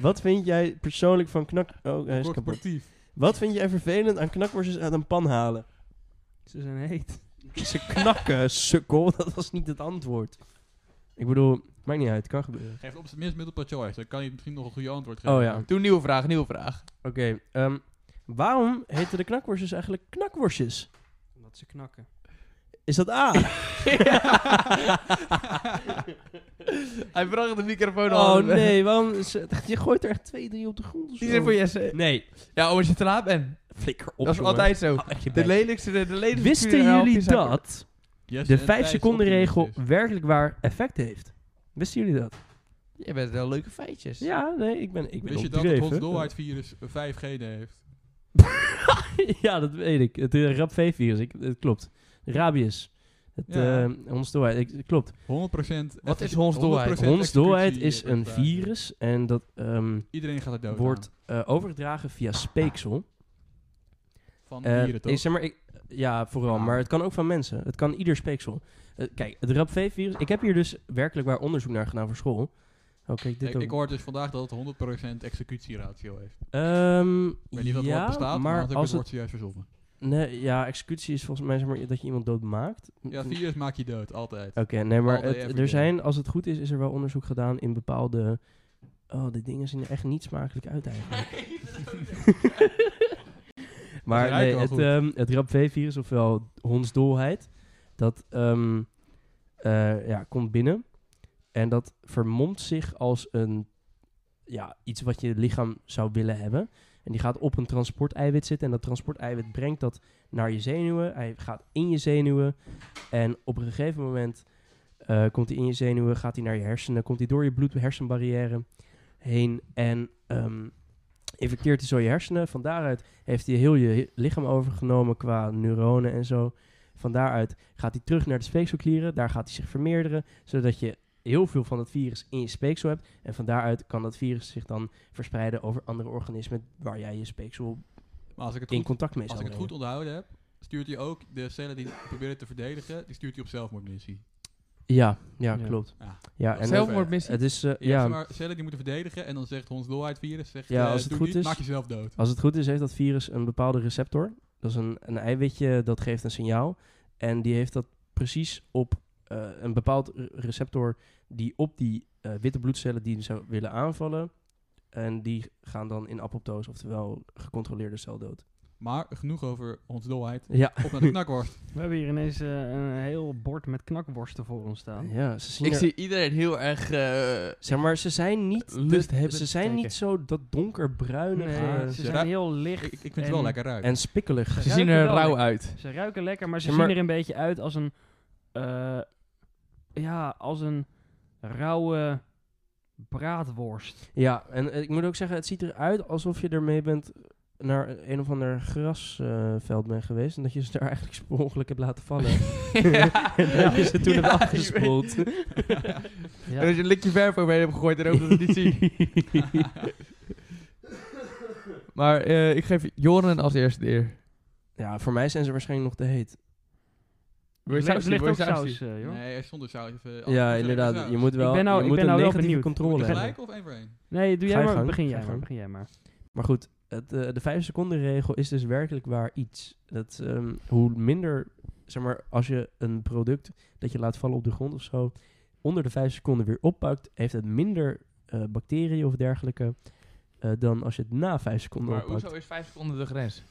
S4: Wat vind jij persoonlijk van knak... Oh, hij is kapot.
S1: Corporatief.
S4: Wat vind jij vervelend aan knakworstjes uit een pan halen?
S3: Ze zijn heet.
S4: Ze knakken, sukkel. Dat was niet het antwoord. Ik bedoel, maakt niet uit. Het kan gebeuren.
S1: Geef op zijn minst multiple choice. Dan kan je misschien nog een goede antwoord geven.
S4: Oh ja.
S2: Doe een nieuwe vraag, nieuwe vraag.
S4: Oké, ehm, waarom heten de knakworstjes eigenlijk knakworstjes?
S3: Omdat ze knakken.
S4: Is dat A?
S2: Oh, Hij bracht de microfoon al.
S4: oh nee, waarom? is- Je gooit er echt twee, drie op de grond. of
S2: Die
S4: zo.
S2: zijn voor Jesse.
S4: Nee,
S2: Ja, omdat je te laat bent.
S4: flikker op.
S2: dat is
S4: jongen.
S2: altijd zo.
S4: Ah, echt je
S2: De
S4: bek.
S2: lelijkste, de lelijkste.
S4: Wisten
S2: stuurhelft
S4: jullie
S2: is eigenlijk-
S4: dat
S1: Yes,
S4: de
S1: en
S4: 5
S1: Thijs
S4: seconden regel
S1: optimistisch.
S4: werkelijk waar effect heeft? Wisten jullie dat?
S2: Je bent wel leuke feitjes.
S4: Ja, nee, ik ben ik ben
S1: Wist je dat het
S4: overdreven.
S1: Hons Dolwaard virus 5 genen heeft?
S4: ja, dat weet ik. Het uh, RAP-V-virus, ik- het klopt. Rabius. Het,
S1: Ja.
S4: eh, hondsdolheid, ik- het klopt.
S1: 100%.
S2: Wat is
S1: effic-
S2: hondsdolheid?
S1: 100%
S4: Hondsdolheid
S1: executie eh,
S4: is een
S1: per vraag.
S4: virus en dat ehm,
S1: Iedereen gaat er dood
S4: wordt
S1: aan.
S4: eh, overgedragen via speeksel.
S1: Van
S4: Eh,
S1: Ah, dieren toch? Ah.
S4: ik zeg maar, ik, ja, vooral, maar het kan ook van mensen. Het kan ieder speeksel. Eh, kijk, het RAP-V-virus, ik heb hier dus werkelijk waar onderzoek naar gedaan voor school. Oh, kijk, dit
S1: ik,
S4: ook.
S1: ik hoorde dus vandaag dat het 100% executieratio heeft. Ik
S4: Ehm,
S1: weet niet of dat
S4: ja,
S1: woord bestaat, maar
S4: maar
S1: anders heb ik het
S4: als het...
S1: woord juist verzonnen.
S4: Nee, ja, executie is volgens mij zeg maar, dat je iemand doodmaakt.
S1: Ja,
S4: Mm,
S1: virus maak je dood, altijd.
S4: Oké, nee,
S1: All
S4: maar
S1: day,
S4: het-
S1: every
S4: er
S1: day.
S4: zijn, als het goed is, is er wel onderzoek gedaan in bepaalde... Oh, de dingen zien er echt niet smakelijk uit eigenlijk. maar
S1: Ze ruiken
S4: nee,
S1: wel
S4: het,
S1: goed.
S4: ehm het RAP-V-virus, ofwel hondsdolheid, dat ehm, eh, ja, komt binnen. En dat vermomt zich als een, ja, iets wat je lichaam zou willen hebben. En die gaat op een transporteiwit zitten. En dat transporteiwit brengt dat naar je zenuwen. Hij gaat in je zenuwen. En op een gegeven moment eh, komt hij in je zenuwen, gaat hij naar je hersenen, komt hij door je bloed-hersenbarrière heen en ehm, infecteert hij zo je hersenen. Van daaruit heeft hij heel je he- lichaam overgenomen qua neuronen en zo. Van daaruit gaat hij terug naar de speekselklieren. Daar gaat hij zich vermeerderen, zodat je heel veel van het virus in je speeksel hebt. En van daaruit kan dat virus zich dan verspreiden over andere organismen waar jij je speeksel
S1: Maar als ik het
S4: in
S1: goed,
S4: contact mee
S1: als ik
S4: zou
S1: het
S4: brengen.
S1: goed onthouden heb, stuurt hij ook de cellen die proberen te verdedigen, die stuurt hij op zelfmoordmissie.
S4: Ja, ja,
S3: Ja.
S4: klopt.
S1: Ja.
S4: Ja, en
S1: Zelf-
S2: Zelfmoordmissie.
S4: het is, eh,
S1: Je hebt,
S4: ja,
S1: zeg maar, cellen die moeten verdedigen en dan zegt hondsdolheid virus, zegt,
S4: Ja,
S1: eh,
S4: als het
S1: doe
S4: goed
S1: niet,
S4: is-
S1: maak jezelf dood.
S4: Als het goed is, heeft dat virus een bepaalde receptor. Dat is een, een eiwitje dat geeft een signaal. En die heeft dat precies op eh, een bepaald re- receptor die op die eh, witte bloedcellen die zou willen aanvallen. En die gaan dan in apoptose, oftewel gecontroleerde celdood.
S1: Maar genoeg over hondsdolheid.
S4: Ja,
S1: Op naar de knakworst.
S3: We hebben hier ineens eh, een heel bord met knakworsten voor ons staan.
S4: ja ze zien
S2: Ik
S4: er-
S2: zie iedereen heel erg... eh,
S4: Zeg maar, ze zijn niet, te-
S2: Liefhebbend
S4: ze zijn
S2: kijken.
S4: niet zo dat donkerbruine
S3: Nee,
S4: eh,
S3: ze
S1: ja.
S3: zijn heel licht.
S1: Ik, ik vind het wel
S3: en-
S1: lekker ruiken.
S4: en spikkelig.
S2: ze
S3: Ruiken
S2: zien er
S3: wel
S2: rauw
S3: lekker.
S2: uit.
S3: Ze ruiken lekker, maar ze
S4: Ja, maar-
S3: zien er een beetje uit als een... eh, ja, als een rauwe braadworst.
S4: Ja, en eh, ik moet ook zeggen, het ziet eruit alsof je ermee bent eh, naar een of ander grasveld eh, bent geweest. En dat je ze daar eigenlijk per ongeluk hebt laten vallen. en dat je ze toen hebt
S2: Ja,
S4: afgespoeld.
S3: Ja.
S2: En als je een likje verf overheen hebt gegooid, dan ook dat we het niet zien. maar eh, ik geef Joren als eerste de eer.
S4: ja, voor mij zijn ze waarschijnlijk nog te heet.
S2: Wil je
S3: Er ligt-
S2: saus
S3: er
S2: zien?
S3: ligt
S2: Wil je
S3: ook
S2: saus
S3: saus,
S2: zien?
S3: eh, joh.
S1: nee, er stond er saus. even-
S3: Oh,
S1: anders
S4: ja,
S1: er
S4: inderdaad.
S1: saus.
S4: Je moet wel,
S3: Ik ben nou-
S4: je
S3: ik
S4: moet
S3: ben
S4: een
S3: nou wel
S4: negatieve
S3: benieuwd.
S1: Moet
S4: controle
S1: ik
S4: hebben.
S1: gelijk of één voor één?
S3: Nee, doe
S4: Ga
S3: jij
S4: je
S3: maar.
S4: gang,
S3: Begin
S4: ga
S3: jij maar.
S4: je gang.
S3: Begin jij maar.
S4: Maar goed, het, eh, de vijf seconden regel is dus werkelijk waar iets. Dat, ehm, hoe minder, zeg maar, als je een product dat je laat vallen op de grond of zo, onder de vijf seconden weer oppakt, heeft het minder eh, bacteriën of dergelijke eh, dan als je het na vijf seconden
S2: Maar
S4: oppakt.
S2: hoezo is 5 seconden de grens?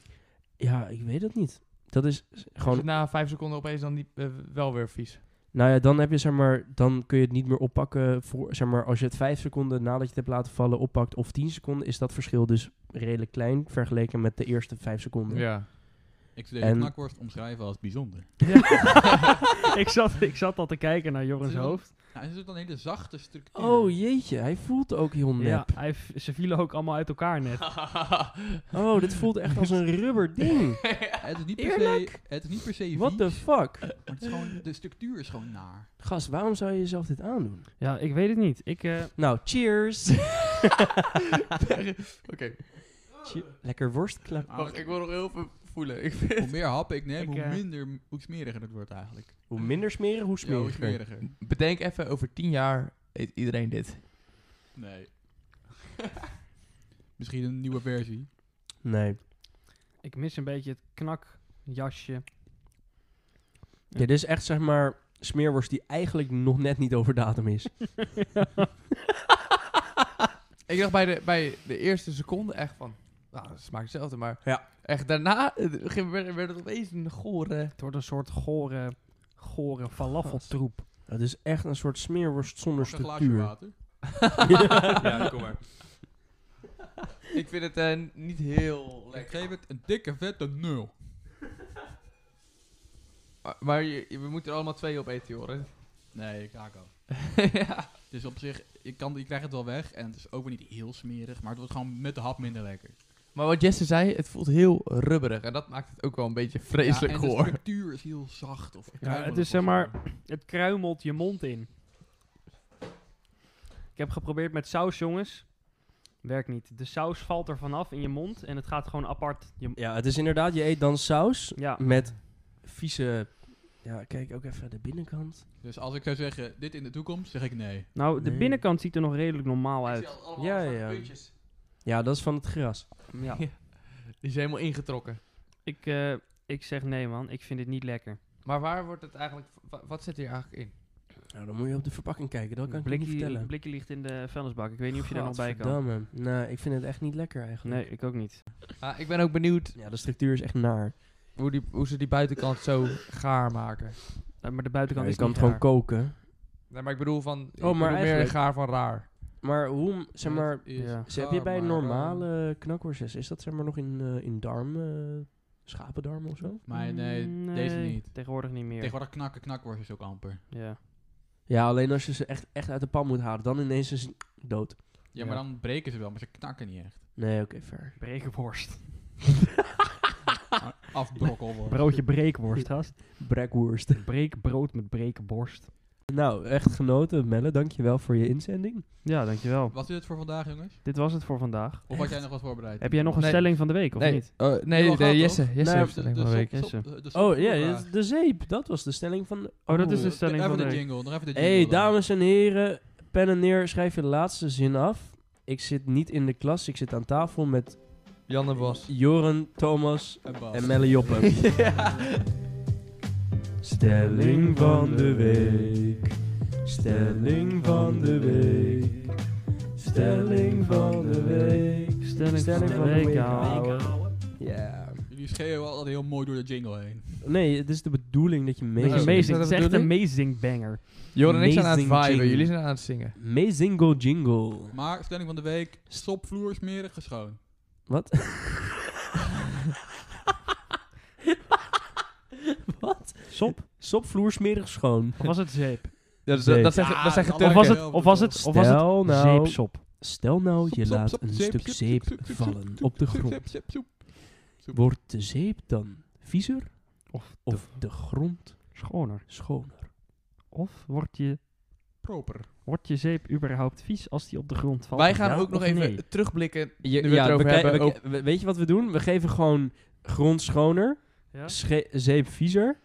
S4: Ja, ik weet het niet. Dat is s-
S2: Gewoon
S4: gewoon,
S2: na 5 seconden opeens dan niet, eh, wel weer vies.
S4: nou ja, dan heb je zeg maar, dan kun je het niet meer oppakken voor, zeg maar, als je het vijf seconden nadat je het hebt laten vallen oppakt of tien seconden, is dat verschil dus redelijk klein vergeleken met de eerste vijf seconden.
S2: Ja.
S1: Ik zou deze
S4: En-
S1: knakworst omschrijven als bijzonder.
S3: ik, zat, ik zat al te kijken naar Jorrens
S1: Het is wel-
S3: hoofd.
S1: Nou, het is dan een hele zachte structuur.
S4: Oh jeetje, hij voelt ook heel nep.
S3: Ja, hij, v- ze vielen ook allemaal uit elkaar net.
S4: Oh, dit voelt echt als een rubber ding.
S1: het, is niet per se,
S4: Eerlijk?
S1: het is niet per se
S4: What the
S1: vies,
S4: fuck?
S1: maar het is gewoon, de structuur is gewoon naar.
S4: Gast, waarom zou je jezelf dit aandoen?
S3: Ja, ik weet het niet. Ik, eh,
S4: Nou, cheers.
S2: Oké,
S4: Che- Lekker worstklap.
S2: wacht, ik wil nog heel veel voelen. Ik
S1: Hoe
S2: vind...
S1: meer happen ik neem,
S3: Ik,
S1: hoe
S3: eh,
S1: minder, hoe smeriger het wordt eigenlijk.
S4: Hoe minder smeren, hoe
S1: Ja, hoe
S4: smeriger.
S1: smeriger.
S2: Bedenk even, over tien jaar eet iedereen dit.
S1: Nee. Misschien een nieuwe versie.
S4: Nee.
S3: ik mis een beetje het knakjasje.
S4: Ja, dit is echt zeg maar smeerworst die eigenlijk nog net niet over datum is.
S2: Ik dacht bij de, bij de eerste seconde echt van, nou, het smaakt hetzelfde, maar
S4: Ja.
S2: echt daarna eh, ging- werd, werd het opeens een gore...
S3: Het wordt een soort gore, gore falafeltroep.
S4: Dat is echt een soort smeerworst zonder
S1: Nog een glaasje
S4: structuur.
S1: water.
S4: ja, kom maar.
S2: Ik vind het eh, niet heel
S1: Ik
S2: lekker.
S1: geef het een dikke vette nul.
S2: Maar, Ah, maar je- je- we moeten er allemaal twee op eten, Joren.
S1: Nee, ik haak al.
S2: ja.
S1: Dus op zich, je, kan, je krijgt het wel weg. En het is ook weer niet heel smerig. Maar het wordt gewoon met de hap minder lekker.
S2: Maar wat Jesse zei, het voelt heel rubberig. En dat maakt het ook wel een beetje vreselijk
S1: ja, en
S2: goor.
S1: de structuur is heel zacht. Of
S3: Ja, het
S1: kruimelig
S3: is
S1: of
S3: zeg
S1: zo.
S3: maar, het kruimelt je mond in. Ik heb geprobeerd met saus, jongens. Werkt niet. De saus valt er vanaf in je mond en het gaat gewoon apart. Je,
S4: Ja, het is inderdaad, je eet dan saus
S3: ja,
S4: met vieze... Ja, kijk ook even de binnenkant.
S1: Dus als ik zou zeggen, dit in de toekomst, zeg ik nee.
S3: nou, de
S4: Nee.
S3: binnenkant ziet er nog redelijk normaal uit.
S1: Oh,
S4: Ja, ja. Ja, dat is van het gras.
S3: Ja.
S2: Die is helemaal ingetrokken.
S3: Ik, eh, ik zeg nee, man. Ik vind dit niet lekker.
S2: Maar waar wordt het eigenlijk... wa- Wat zit hier eigenlijk in?
S4: Nou, dan moet je op de verpakking kijken, dat kan ik je niet
S3: Blikje,
S4: vertellen.
S3: blikje ligt in de vuilnisbak. Ik weet niet of je daar nog bij kan.
S4: Godverdamme. Nee, Nou, ik vind het echt niet lekker eigenlijk.
S3: Nee, ik ook niet.
S2: Ah, ik ben ook benieuwd
S4: Ja, de structuur is echt naar.
S2: hoe, die, hoe ze die buitenkant zo gaar maken.
S3: Eh, Maar de buitenkant
S4: Ja, je
S3: is
S4: kan dus
S3: niet
S4: het gewoon
S3: raar.
S4: koken.
S2: Nee, maar ik bedoel van... ik
S4: Oh, maar
S2: bedoel meer
S4: eigenlijk-
S2: gaar van raar.
S4: Maar hoe, zeg maar,
S1: Het is
S3: Ja.
S4: ze- heb je bij
S1: gaar, maar, eh,
S4: normale knakworstjes, is dat zeg maar nog in, eh, in darm, eh, schapendarm of zo?
S1: Maar nee, deze
S3: Mm, Nee,
S1: niet.
S3: Tegenwoordig niet meer.
S1: Tegenwoordig knakken knakworst is ook amper.
S3: Ja.
S4: Ja, alleen als je ze echt, echt uit de pan moet halen, dan ineens is het dood.
S1: Ja, maar
S4: Ja.
S1: dan breken ze wel, maar ze knakken niet echt.
S4: Nee, oké, fair.
S3: Brekenworst.
S1: Maar Afbrokkelworst.
S3: Broodje breekworst, gast.
S4: Brekworst.
S3: Breekbrood met brekenborst.
S4: nou, echt genoten, Melle. Dankjewel voor je inzending.
S3: Ja, dankjewel.
S1: Wat is het voor vandaag, jongens?
S3: Dit was het voor vandaag.
S1: Of had jij nog wat voorbereid?
S3: Heb jij nog een
S2: Nee.
S3: stelling van de week, of
S2: nee,
S3: niet?
S2: oh, nee,
S1: Jawel,
S2: nee,
S1: gaat toch?
S2: Jesse. Jesse
S4: Nee,
S2: heeft stelling van de week.
S3: Jesse.
S4: Oh ja, de, de zeep. Dat was de stelling van...
S3: Oh, dat is
S4: Oeh.
S3: de stelling
S1: Even
S3: van de
S1: de
S3: week.
S1: jingle, nog even de jingle.
S4: Hey,
S1: dan.
S4: dames en heren, pen en neer, schrijf je de laatste zin af. Ik zit niet in de klas, ik zit aan tafel met
S2: Janne Bos.
S4: Joren, Thomas
S1: En Bas.
S4: en Melle Joppen. Stelling van de week. Stelling van de week. Stelling van de week.
S3: Stelling,
S4: Stelling
S3: van de week, ouwe.
S4: ouwe. Ja.
S1: Jullie schreeuwen altijd heel mooi door de jingle heen.
S4: Nee, het is de bedoeling dat je
S2: Is dat
S4: mee...
S3: Amazing.
S2: de
S3: Het is echt
S2: bedoeling?
S3: amazing banger.
S2: Joren en ik zijn aan het
S4: Amazing
S2: viben.
S4: jingle.
S2: Jullie zijn aan het zingen.
S4: Mezingo jingle.
S1: Maar, stelling van de week, sopvloer smerig geschoon.
S4: Wat? Wat?
S3: Sop?
S4: Sopvloer smerig schoon.
S3: Of was het zeep?
S2: Dat, is-
S4: Zeep.
S2: dus dat zeggen,
S1: Ja,
S2: dat zeggen
S1: dat
S3: Of
S2: Turken.
S3: was het, of was het, of was het
S4: Stel nou-
S3: zeepsop?
S4: Stel nou, je
S1: Sop, sop,
S4: laat
S1: sop,
S4: een
S1: zeep,
S4: stuk
S1: soep,
S4: zeep
S1: soep, soep, soep,
S4: vallen op de grond.
S1: Soep, soep, soep.
S4: Wordt de zeep dan viezer
S3: Of,
S4: of de grond
S3: schoner?
S4: schoner?
S3: Of wordt je,
S1: Proper.
S3: wordt je zeep überhaupt vies als die op de grond valt?
S2: Wij gaan
S3: Ja
S2: ook nog
S3: of
S2: even
S3: nee?
S2: terugblikken. nu we het erover
S4: we
S2: hebben.
S4: kijken-
S2: ook-
S4: we- we- weet je wat we doen? We geven gewoon grond schoner,
S3: Ja?
S4: sche- zeep viezer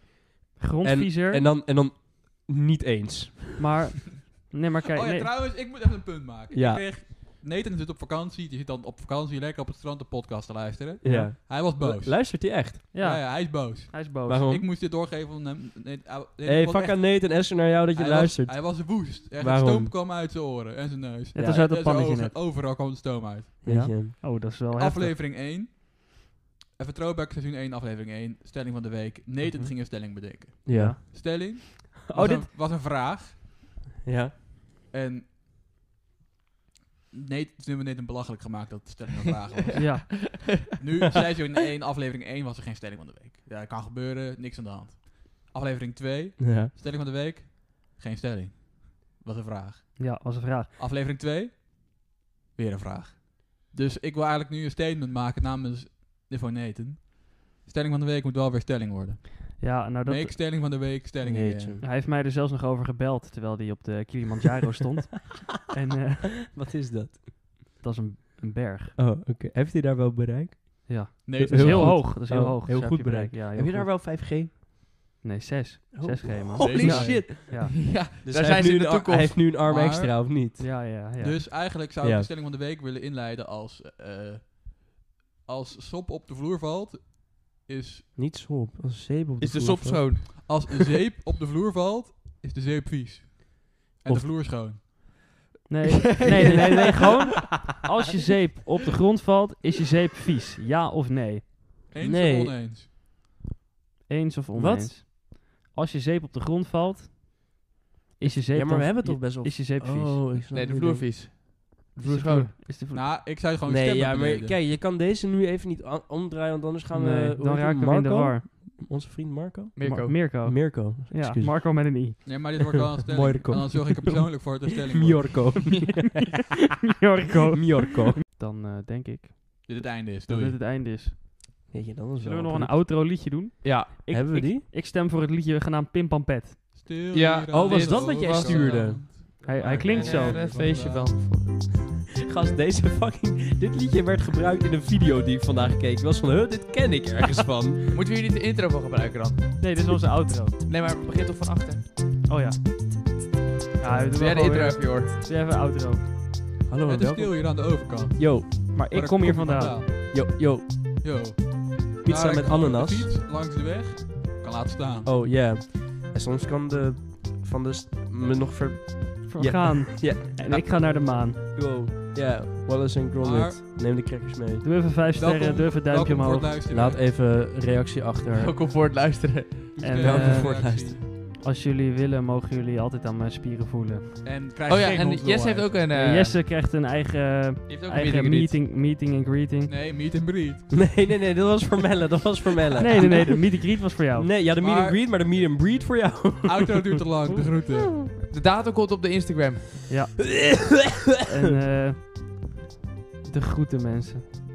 S3: Grondviezer,
S4: en dan, en dan niet eens.
S3: maar... Nee, maar kijk,
S1: oh ja,
S3: nee.
S1: trouwens, ik moet even een punt maken.
S4: Ja.
S1: Ik kreeg, Nathan zit op vakantie. Die zit dan op vakantie lekker op het strand de podcast te luisteren.
S4: Ja.
S3: Ja.
S1: Hij was boos.
S4: Lu- Luistert hij echt?
S1: ja.
S3: ja,
S1: ja, hij is boos.
S3: hij is boos.
S4: Waarom?
S1: Ik moest dit doorgeven van hem. Nee, hij- nee,
S4: hey,
S1: ik was
S4: fuck
S1: echt-
S4: aan Nathan Esser naar jou dat je
S1: hij
S4: luistert.
S1: Was, hij was woest. Echt, het
S4: Waarom?
S1: stoom kwam uit zijn oren en zijn neus.
S3: Het
S4: Ja,
S3: is uit
S1: En
S3: het
S1: zijn
S3: pannetje
S1: ogen.
S3: net.
S1: Overal kwam de stoom uit.
S4: Weet
S3: Ja?
S4: je.
S3: Oh, dat is wel heftig.
S1: Aflevering 1. Even throwback seizoen 1, aflevering 1. Stelling van de week. Nathan
S4: Mhm.
S1: ging een stelling bedenken.
S4: Ja.
S1: Stelling was,
S4: Oh, dit.
S1: een, was een vraag.
S4: Ja.
S1: En Nate, toen hebben we Nate een belachelijk gemaakt dat het stelling van vragen was.
S3: Ja.
S1: Nu, zei zo in één, aflevering 1 was er geen stelling van de week. Ja, kan gebeuren, niks aan de hand. Aflevering 2,
S4: Ja.
S1: stelling van de week, geen stelling. Was een vraag.
S3: ja, was een vraag.
S1: Aflevering 2, weer een vraag. Dus ik wil eigenlijk nu een statement maken namens de van Nathan. Stelling van de week moet wel weer stelling worden.
S3: Ja, nou dat...
S1: Make stelling van de week, stelling
S4: Jeetje.
S1: eh,
S3: Hij heeft mij er zelfs nog over gebeld, terwijl hij op de Kilimanjaro stond. En eh,
S4: Wat is dat?
S3: dat is een, een berg.
S4: Oh, oké. Heeft hij daar wel bereik?
S3: Ja,
S1: Nee, het
S3: dat is
S1: is
S3: heel,
S4: goed.
S3: hoog. Dat is heel
S4: Oh,
S3: hoog.
S4: heel
S3: Zo
S4: goed
S3: heb je bereik. Ja, heel
S4: Heb je daar
S3: goed.
S4: wel 5G?
S3: Nee, 6.
S4: Oh.
S3: 6G, man.
S1: Holy
S4: Zeker.
S1: shit.
S3: Ja,
S2: ja,
S4: Dus
S2: daar
S4: hij
S2: zijn
S4: heeft
S2: ze
S4: nu
S2: in
S4: een
S2: de
S4: ar- Hij
S2: toekomst.
S4: heeft nu een arm
S1: Maar-
S4: extra, of niet?
S3: ja, ja. ja.
S1: Dus eigenlijk zou ik
S4: Ja.
S1: de stelling van de week willen inleiden als... eh, als sop op de vloer valt, is...
S4: Niet sop, als zeep op de
S2: Is de
S4: vloer,
S2: sop
S4: of-
S2: schoon?
S1: Als een zeep op de vloer valt, is de zeep vies. En
S4: Of-
S1: de vloer schoon.
S3: Nee, nee, nee, nee, nee, gewoon. Als je zeep op de grond valt, is je zeep vies. Ja of nee?
S1: Eens
S4: Nee.
S1: of oneens?
S3: Eens of
S4: Wat?
S3: oneens? Als je zeep op de grond valt, is je zeep
S4: Ja, maar we
S3: dan-
S4: hebben toch
S3: je-
S4: best wel...
S3: Is je zeep vies?
S4: Oh, ik snap
S2: Nee, de
S4: nu
S2: vloer
S4: denk-
S2: vies. De
S3: Is
S2: vloer
S3: de
S2: schoon.
S3: Is de vloer-
S1: Nou, ik zou gewoon
S4: Nee,
S1: stemmen
S4: ja, maar
S1: beneden.
S4: kijk, je kan deze nu even niet a- omdraaien, want anders gaan
S3: Nee,
S4: we... hoe
S3: Nou, eh, dan
S4: heet
S3: raken
S4: die?
S3: we in de
S4: Marco? Oh.
S3: war.
S4: Onze vriend Marco?
S2: Mirko.
S3: Ma- Mirko.
S4: Mirko.
S3: ja,
S4: excuus.
S3: Marco met een i.
S1: Nee, maar dit wordt wel een
S4: Mooi
S1: stelling. En
S4: recall.
S1: dan zorg ik er persoonlijk voor dat de stelling wordt.
S4: Mjorko.
S3: Mirko.
S4: Mjorko.
S3: Dan eh, denk ik
S1: Dit het einde is.
S3: dat dit
S1: Doei.
S3: het einde is.
S4: Weet je, dat is
S3: Zullen we
S4: wel
S3: nog een
S4: goed.
S3: outro liedje doen?
S2: Ja.
S3: Ik,
S4: Hebben we
S3: ik-
S4: die?
S3: Ik stem voor het liedje genaamd Pim Pam Pet.
S1: Stil
S2: Ja.
S1: hier
S2: Oh,
S1: aan
S2: was
S1: de
S2: dat wat jij
S1: overkant.
S4: stuurde?
S3: Hij- hij klinkt zo.
S2: Ja, een feestje van.
S4: Gast, deze fucking... Dit liedje werd gebruikt in een video die ik vandaag keek. Ik was van, huh, dit ken ik ergens van.
S2: Moeten we hier niet de intro van gebruiken dan?
S3: Nee, dit is onze outro.
S2: Nee, maar begin toch van achter.
S3: Oh ja. Ja, we doen
S2: Doe jij de
S3: wel
S2: intro Oh
S3: weer-
S2: heb je hoor.
S3: doe even outro.
S4: Hallo en
S1: Het is stil
S4: welkom.
S1: hier aan de overkant.
S4: Yo,
S3: Maar ik
S1: Maar
S3: kom hier
S1: komt
S3: vandaan.
S4: yo, yo.
S1: Yo.
S4: Pizza
S1: Daar kom
S4: met
S1: ik op de
S4: ananas.
S1: fiets, langs de weg. Kan laten staan.
S4: Oh, ja. En soms kan de... Van de... st- Me nog ver... Ja.
S3: Gaan.
S4: Ja.
S3: En ik ga naar de maan.
S4: Yo. Ja, Wallace en Gromit. Neem de crackers mee.
S3: Doe even vijf
S1: Welkom-
S3: sterren, doe even duimpje
S1: welkom voor het
S3: omhoog.
S1: luisteren.
S4: Laat even reactie achter.
S2: Welkom voor het luisteren.
S1: Toestel,
S3: En, eh,
S1: reactie.
S4: voor het luisteren.
S3: Als jullie willen, mogen jullie altijd aan mijn spieren voelen.
S1: En krijg
S2: Oh ja,
S1: geen
S2: en
S1: hondsdolheid.
S2: Jesse heeft ook een...
S3: En
S2: eh
S3: Jesse krijgt een eigen,
S2: die heeft ook een
S3: eigen
S2: meeting. meeting.
S3: meeting, meeting en greeting.
S1: Nee, meet and breed.
S4: Nee, nee, nee. Dat was voor Melle. Dat was voor Melle.
S3: Nee, nee, nee, de meet and greet was voor jou.
S4: Nee, ja, de meet and
S1: Maar-
S4: greet, maar de meet and breed voor jou.
S1: Auto duurt te lang, de groeten.
S2: De datum komt op de Instagram.
S3: En eh, de groeten mensen.